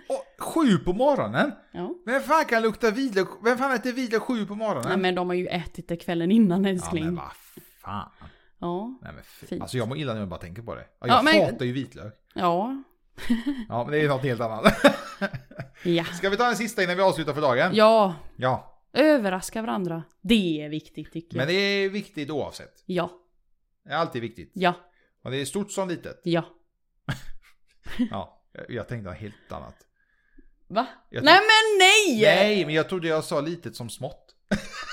[SPEAKER 1] Och, sju på morgonen?
[SPEAKER 2] Ja.
[SPEAKER 1] Vem fan kan lukta vitlök? Vem fan äter vitlök sju på morgonen?
[SPEAKER 2] Nej men de har ju ätit det kvällen innan
[SPEAKER 1] ja,
[SPEAKER 2] älskling.
[SPEAKER 1] men
[SPEAKER 2] Ja.
[SPEAKER 1] vad fan.
[SPEAKER 2] Ja.
[SPEAKER 1] Nej, men fy.
[SPEAKER 2] Fint.
[SPEAKER 1] Alltså jag mår illa när jag bara tänker på det. Ja,
[SPEAKER 2] Ja,
[SPEAKER 1] jag
[SPEAKER 2] men-
[SPEAKER 1] hatar ju vitlök.
[SPEAKER 2] Ja.
[SPEAKER 1] Ja men det är något helt annat.
[SPEAKER 2] ja.
[SPEAKER 1] Ska vi ta en sista innan vi avslutar för dagen? Ja.
[SPEAKER 2] Överraska varandra. Det är viktigt tycker
[SPEAKER 1] Men
[SPEAKER 2] jag.
[SPEAKER 1] det är viktigt oavsett.
[SPEAKER 2] Ja.
[SPEAKER 1] Det är alltid viktigt.
[SPEAKER 2] Ja.
[SPEAKER 1] Och det är stort som litet.
[SPEAKER 2] Ja.
[SPEAKER 1] Ja, jag- jag tänkte något helt annat.
[SPEAKER 2] Va?
[SPEAKER 1] Jag
[SPEAKER 2] nej men nej!
[SPEAKER 1] Nej, men jag trodde jag sa litet som smått.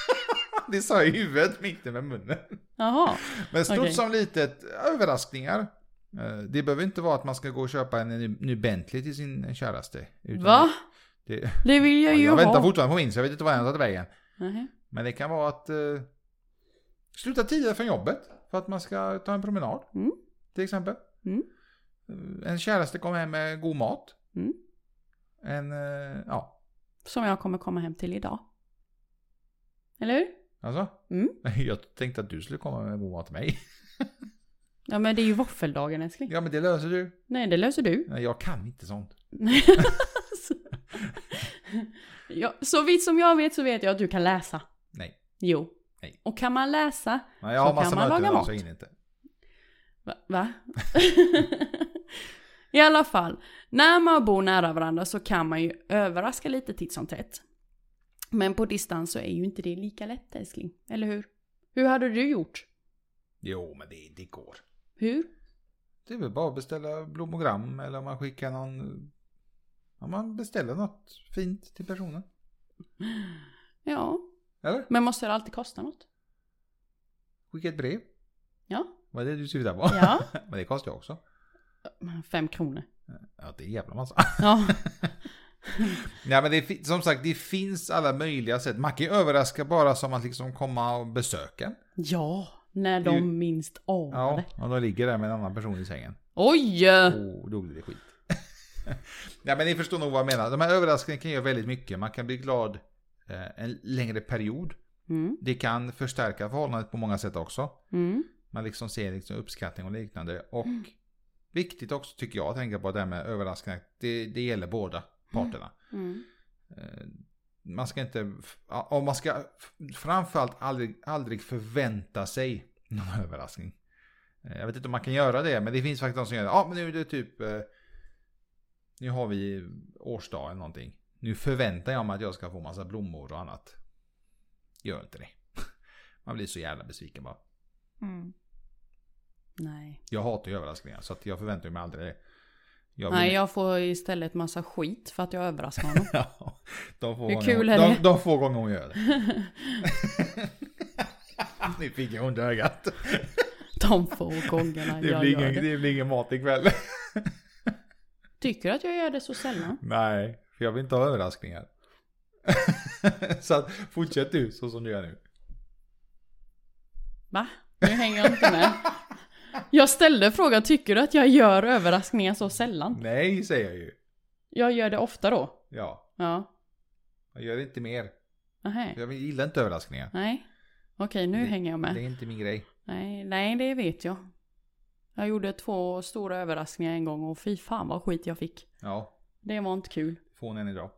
[SPEAKER 1] det sa jag i huvudet, men inte med munnen.
[SPEAKER 2] Jaha.
[SPEAKER 1] Men stort
[SPEAKER 2] Okej.
[SPEAKER 1] som litet, överraskningar. Eh, Det behöver inte vara att man ska gå och köpa en ny- ny Bentley till sin käraste. Utan
[SPEAKER 2] Va?
[SPEAKER 1] Det, det,
[SPEAKER 2] Det vill jag
[SPEAKER 1] jag
[SPEAKER 2] ju
[SPEAKER 1] väntar
[SPEAKER 2] ha.
[SPEAKER 1] fortfarande på min, så jag vet inte vad den har tagit vägen.
[SPEAKER 2] Nej.
[SPEAKER 1] Men det kan vara att eh, sluta tidigare från jobbet för att man ska ta en promenad.
[SPEAKER 2] Mm.
[SPEAKER 1] Till exempel.
[SPEAKER 2] Mm.
[SPEAKER 1] Eh, En käraste kommer hem med god mat.
[SPEAKER 2] Mm.
[SPEAKER 1] En, eh, ja,
[SPEAKER 2] Som jag kommer komma hem till idag. Eller hur?
[SPEAKER 1] alltså.
[SPEAKER 2] Mm.
[SPEAKER 1] Jag tänkte att du skulle komma med god mat till mig.
[SPEAKER 2] Ja men det är ju våffeldagen älskling.
[SPEAKER 1] Ja men det löser du.
[SPEAKER 2] Nej det löser du.
[SPEAKER 1] Nej, jag kan inte sånt.
[SPEAKER 2] ja, så vitt som jag vet så vet jag att du kan läsa.
[SPEAKER 1] Nej.
[SPEAKER 2] Jo.
[SPEAKER 1] Nej.
[SPEAKER 2] Och kan man läsa...
[SPEAKER 1] Nej jag har
[SPEAKER 2] Så kan
[SPEAKER 1] massa
[SPEAKER 2] man
[SPEAKER 1] möten
[SPEAKER 2] laga
[SPEAKER 1] idag
[SPEAKER 2] mat.
[SPEAKER 1] så jag hinner inte.
[SPEAKER 2] Va? va? I alla fall, när man bor nära varandra så kan man ju överraska lite titt som tätt. Men på distans så är ju inte det lika lätt älskling. Eller hur? Hur hade du gjort?
[SPEAKER 1] Jo men det, det går.
[SPEAKER 2] Hur?
[SPEAKER 1] Det är väl bara att beställa blommogram eller om man skickar någon... Om man beställer något fint till personen.
[SPEAKER 2] Ja,
[SPEAKER 1] Eller?
[SPEAKER 2] men måste det alltid kosta något?
[SPEAKER 1] Skicka ett brev.
[SPEAKER 2] Ja.
[SPEAKER 1] Vad är det du syftar på?
[SPEAKER 2] Ja.
[SPEAKER 1] Men det kostar ju också.
[SPEAKER 2] Fem kronor.
[SPEAKER 1] Ja, det är jävla massa.
[SPEAKER 2] Ja.
[SPEAKER 1] Nej, men det, fi- som sagt, det finns alla möjliga sätt. Man kan ju överraska bara som att liksom komma och besöka.
[SPEAKER 2] Ja, När
[SPEAKER 1] Det är
[SPEAKER 2] de
[SPEAKER 1] ju-
[SPEAKER 2] minst
[SPEAKER 1] Ja,
[SPEAKER 2] anade.
[SPEAKER 1] och de ligger där med en annan person i sängen.
[SPEAKER 2] Oj!
[SPEAKER 1] Oh, då blir det skit. ja, men ni förstår nog vad jag menar. De här överraskningarna kan göra väldigt mycket. Man kan bli glad eh, en längre period.
[SPEAKER 2] Mm,
[SPEAKER 1] Det kan förstärka förhållandet på många sätt också.
[SPEAKER 2] mm,
[SPEAKER 1] Man liksom ser liksom uppskattning och liknande. Och viktigt också tycker jag att tänka på det här med överraskningar. Det, det gäller båda parterna.
[SPEAKER 2] mm.
[SPEAKER 1] Eh, Man ska inte, ja, och man ska framförallt aldrig, aldrig förvänta sig någon överraskning. Eh, Jag vet inte om man kan göra det, men det finns faktiskt de som gör det. Ja, men nu är det typ, eh, nu har vi årsdag eller någonting. Nu förväntar jag mig att jag ska få massa blommor och annat. Gör inte det. Man blir så jävla besviken bara.
[SPEAKER 3] Mm.
[SPEAKER 2] Nej.
[SPEAKER 1] Jag hatar ju överraskningar, så att jag förväntar mig aldrig det. Jag vill-
[SPEAKER 2] Nej, jag får istället massa skit för att jag överraskar honom.
[SPEAKER 1] Ja, de få
[SPEAKER 2] Hur
[SPEAKER 1] gånger
[SPEAKER 2] kul
[SPEAKER 1] hon,
[SPEAKER 2] är
[SPEAKER 1] de,
[SPEAKER 2] det?
[SPEAKER 1] de få gånger hon gör det. nu fick jag under ögat.
[SPEAKER 2] De få gångerna
[SPEAKER 1] Det
[SPEAKER 2] jag
[SPEAKER 1] blir,
[SPEAKER 2] gör
[SPEAKER 1] ingen,
[SPEAKER 2] det.
[SPEAKER 1] det blir ingen mat ikväll.
[SPEAKER 2] Tycker du att jag gör det så sällan?
[SPEAKER 1] Nej, för jag vill inte ha överraskningar. så att, fortsätt du så som du gör nu.
[SPEAKER 2] Va? Nu hänger jag inte med. Jag ställde frågan, tycker du att jag gör överraskningar så sällan?
[SPEAKER 1] Nej, säger jag ju.
[SPEAKER 2] Jag gör det ofta då.
[SPEAKER 1] Ja,
[SPEAKER 2] Ja.
[SPEAKER 1] jag gör inte mer.
[SPEAKER 2] Nej.
[SPEAKER 1] Jag gillar inte överraskningar.
[SPEAKER 2] Nej. Okej, nu
[SPEAKER 1] Det-
[SPEAKER 2] hänger jag
[SPEAKER 1] Det
[SPEAKER 2] med.
[SPEAKER 1] är inte min grej.
[SPEAKER 2] Nej, nej, det vet jag. Jag gjorde två stora överraskningar en gång och fy fan vad skit jag fick.
[SPEAKER 1] Ja,
[SPEAKER 2] Det var inte kul.
[SPEAKER 1] får hon en idag.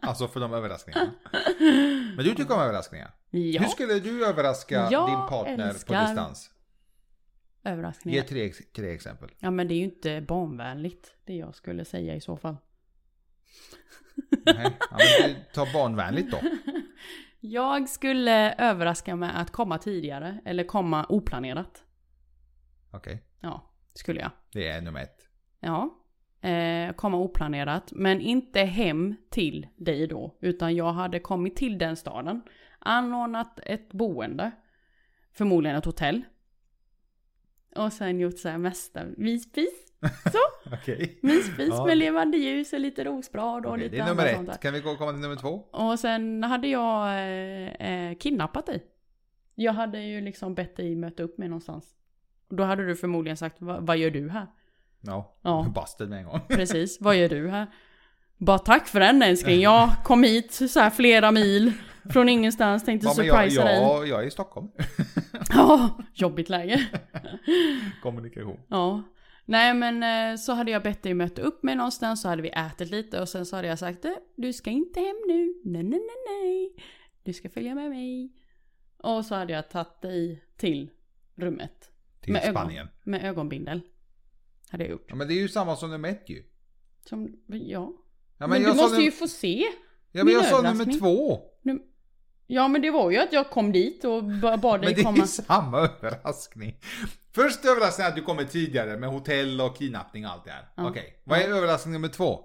[SPEAKER 1] alltså för de överraskningarna. Men du tycker om överraskningar. Hur
[SPEAKER 2] Ja,
[SPEAKER 1] skulle du överraska
[SPEAKER 2] Jag
[SPEAKER 1] din partner
[SPEAKER 2] älskar-
[SPEAKER 1] på distans? Ge
[SPEAKER 2] överraskningar.
[SPEAKER 1] tre, ex- tre exempel.
[SPEAKER 2] Ja, men det är ju inte barnvänligt det jag skulle säga i så fall.
[SPEAKER 1] Nej, ja, men det- ta barnvänligt då.
[SPEAKER 2] Jag skulle överraska med att komma tidigare eller komma oplanerat.
[SPEAKER 1] Okej,
[SPEAKER 2] Ja, skulle jag.
[SPEAKER 1] det är nummer ett.
[SPEAKER 2] Ja. Eh, komma oplanerat, men inte hem till dig då. Utan jag hade kommit till den staden, anordnat ett boende, förmodligen ett hotell. Och sen gjort så här mesta myspis,
[SPEAKER 1] Okej.
[SPEAKER 2] myspis
[SPEAKER 1] Ja.
[SPEAKER 2] med levande ljus och lite rosblad och
[SPEAKER 1] Okej,
[SPEAKER 2] lite
[SPEAKER 1] det är nummer
[SPEAKER 2] annat sånt där.
[SPEAKER 1] ett. Kan vi gå komma till nummer två?
[SPEAKER 2] Och sen hade jag eh, eh, kidnappat dig. Jag hade ju liksom bett dig möta upp mig någonstans. Då hade du förmodligen sagt, "Va- vad gör du här?
[SPEAKER 1] Ja,
[SPEAKER 2] Ja.
[SPEAKER 1] Busted med en gång.
[SPEAKER 2] Precis, vad gör du här? Bara tack för den älskling, jag kom hit så här flera mil från ingenstans, tänkte
[SPEAKER 1] Ja, men jag,
[SPEAKER 2] surprisa dig.
[SPEAKER 1] jag, jag är i Stockholm.
[SPEAKER 2] Ja, jobbigt läge.
[SPEAKER 1] Kommunikation.
[SPEAKER 2] Ja. Nej men eh, så hade jag bett dig möta upp mig någonstans, så hade vi ätit lite och sen så hade jag sagt "Eh, du ska inte hem nu, nej nej nej nej, du ska följa med mig. Och så hade jag tagit dig till rummet
[SPEAKER 1] Till
[SPEAKER 2] Med ögon.
[SPEAKER 1] Spanien.
[SPEAKER 2] med ögonbindel. Hade jag gjort.
[SPEAKER 1] Ja, men det är ju samma som nummer ett ju.
[SPEAKER 2] Som, ja.
[SPEAKER 1] Ja,
[SPEAKER 2] men du måste
[SPEAKER 1] num-
[SPEAKER 2] ju få se.
[SPEAKER 1] Ja, men jag
[SPEAKER 2] min
[SPEAKER 1] sa nummer
[SPEAKER 2] överraskning.
[SPEAKER 1] två.
[SPEAKER 2] Ja men det var ju att jag kom dit och ba- bad
[SPEAKER 1] Men
[SPEAKER 2] dig
[SPEAKER 1] det är
[SPEAKER 2] komma.
[SPEAKER 1] ju samma överraskning. Först överraskningen att du kommer tidigare med hotell och kidnappning och allt det här.
[SPEAKER 2] Ja.
[SPEAKER 1] Okej, vad är överraskning nummer två?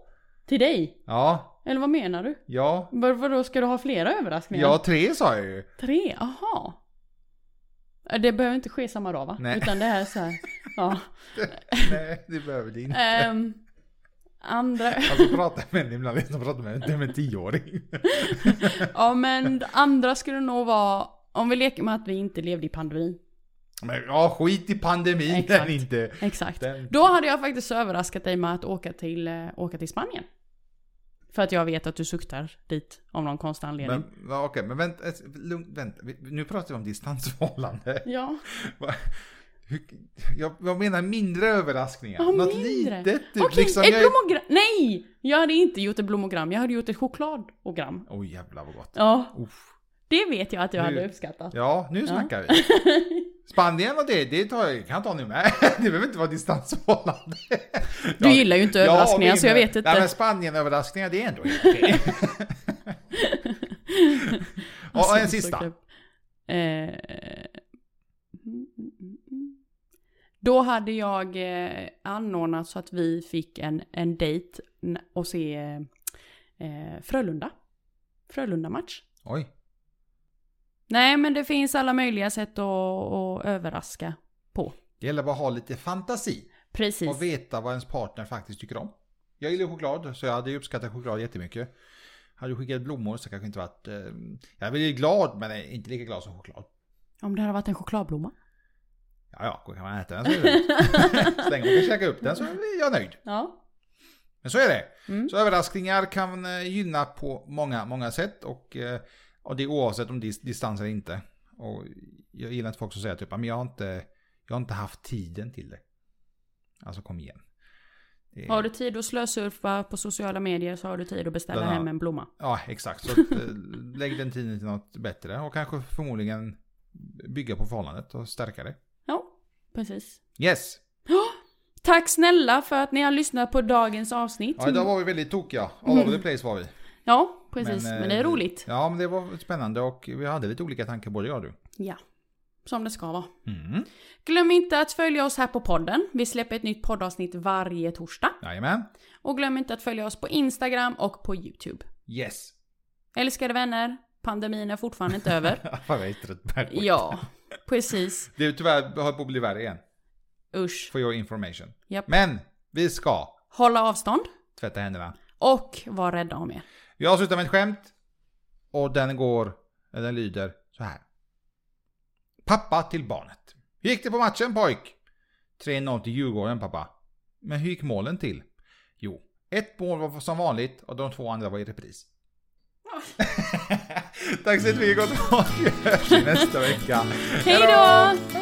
[SPEAKER 2] Till dig?
[SPEAKER 1] Ja,
[SPEAKER 2] Eller vad menar du?
[SPEAKER 1] ja,
[SPEAKER 2] Var- Vadå, ska du ha flera överraskningar?
[SPEAKER 1] ja tre sa jag ju.
[SPEAKER 2] Tre? Aha. Äh, Det behöver inte ske samma dag va?
[SPEAKER 1] Nej.
[SPEAKER 2] Utan det här är så här. Ja.
[SPEAKER 1] Nej, det behöver det inte.
[SPEAKER 2] Ehm, andra,
[SPEAKER 1] Alltså prata med en ibland, liksom prata med en, med en tioåring.
[SPEAKER 2] ja men andra skulle nog vara om vi leker med att vi inte levde i pandemin.
[SPEAKER 1] Men ja, skit i pandemin
[SPEAKER 2] Exakt.
[SPEAKER 1] den inte.
[SPEAKER 2] Exakt.
[SPEAKER 1] Den,
[SPEAKER 2] Då hade jag faktiskt överraskat dig med att åka till, eh, åka till Spanien. För att jag vet att du suktar dit av någon konstig anledning.
[SPEAKER 1] men ja, okej, men vänta, ett- lugn, vänta. Vi- Nu pratar vi om distansförhållande.
[SPEAKER 2] Ja.
[SPEAKER 1] Va- Hur- Jag, jag menar mindre överraskningar.
[SPEAKER 2] Ja,
[SPEAKER 1] Något
[SPEAKER 2] mindre.
[SPEAKER 1] litet typ.
[SPEAKER 2] Okej,
[SPEAKER 1] liksom,
[SPEAKER 2] ett
[SPEAKER 1] jag är-
[SPEAKER 2] blommogram! Nej! Jag hade inte gjort ett blommogram, jag hade gjort ett chokladogram.
[SPEAKER 1] Oj jävlar vad gott.
[SPEAKER 2] Ja,
[SPEAKER 1] Uff.
[SPEAKER 2] det vet jag att jag
[SPEAKER 1] Nu-
[SPEAKER 2] hade uppskattat.
[SPEAKER 1] Ja, nu snackar vi. Spanien och det, det tar jag, kan jag ta nu med. Det behöver inte vara distansförhållande.
[SPEAKER 2] Du gillar ju inte överraskningar
[SPEAKER 1] min-
[SPEAKER 2] så jag vet inte.
[SPEAKER 1] Nej men Spanien-överraskningar, det är ändå helt okej.
[SPEAKER 2] Alltså,
[SPEAKER 1] Och en
[SPEAKER 2] så
[SPEAKER 1] sista.
[SPEAKER 2] knäpp. Eh, mm, mm, mm, mm. Då hade jag eh, anordnat så att vi fick en, en dejt n- och se eh, Frölunda. Frölunda-match.
[SPEAKER 1] Oj.
[SPEAKER 2] Nej men det finns alla möjliga sätt att, att överraska på.
[SPEAKER 1] Det gäller bara att ha lite fantasi
[SPEAKER 2] Precis.
[SPEAKER 1] och veta vad ens partner faktiskt tycker om. Jag gillar choklad, så jag hade ju uppskattat choklad jättemycket. Hade du skickat blommor så kanske inte varit... Eh, jag hade blivit glad, men inte lika glad som choklad.
[SPEAKER 2] Om det hade varit en chokladblomma.
[SPEAKER 1] Ja, ja, då kan man äta den så är det lugnt. Så länge man kan käka upp den så är jag nöjd.
[SPEAKER 2] Ja.
[SPEAKER 1] Men så är det.
[SPEAKER 2] Mm.
[SPEAKER 1] Så överraskningar kan eh, gynna på många, många sätt och, eh, och det är oavsett om dis- distans eller inte. Och jag gillar inte folk som säger typ "Ah, men jag har inte, jag har inte haft tiden till det. Alltså kom igen. Det-
[SPEAKER 2] Har du tid att slösurfa på sociala medier så har du tid att beställa
[SPEAKER 1] Den här-
[SPEAKER 2] hem en blomma.
[SPEAKER 1] Ja, exakt. Så att, eh, lägg den tiden till något bättre och kanske förmodligen bygga på förhållandet och stärka det.
[SPEAKER 2] Ja, precis.
[SPEAKER 1] Yes!
[SPEAKER 2] Tack snälla för att ni har lyssnat på dagens avsnitt.
[SPEAKER 1] Ja, idag var vi väldigt tokiga. All over the place var vi.
[SPEAKER 2] Ja, Mm. precis.
[SPEAKER 1] Men,
[SPEAKER 2] Men,
[SPEAKER 1] eh,
[SPEAKER 2] det är roligt.
[SPEAKER 1] Ja, men det var spännande och vi hade lite olika tankar både jag och du.
[SPEAKER 2] Ja. Som det ska vara.
[SPEAKER 1] Mm.
[SPEAKER 2] Glöm inte att följa oss här på podden. Vi släpper ett nytt poddavsnitt varje torsdag.
[SPEAKER 1] Jajamän.
[SPEAKER 2] Och glöm inte att följa oss på Instagram och på YouTube.
[SPEAKER 1] Yes!
[SPEAKER 2] Älskade vänner, pandemin är fortfarande inte över.
[SPEAKER 1] Fan, jag är trött på det här.
[SPEAKER 2] Ja, precis.
[SPEAKER 1] Det är tyvärr jag höll på att bli värre igen.
[SPEAKER 2] Usch.
[SPEAKER 1] For your information.
[SPEAKER 2] Japp.
[SPEAKER 1] Men vi ska
[SPEAKER 2] Hålla avstånd
[SPEAKER 1] tvätta händerna.
[SPEAKER 2] och var rädda om er.
[SPEAKER 1] Jag avslutar med ett skämt. Och den går, eller den lyder så här. Pappa till barnet. Hur gick det på matchen pojk? 3-0 till Djurgården pappa. Men hur gick målen till? Jo, ett mål var som vanligt och de två andra var i repris. Tack så mycket gott folk. Vi hörs nästa vecka.
[SPEAKER 2] Hej då!
[SPEAKER 1] Hej!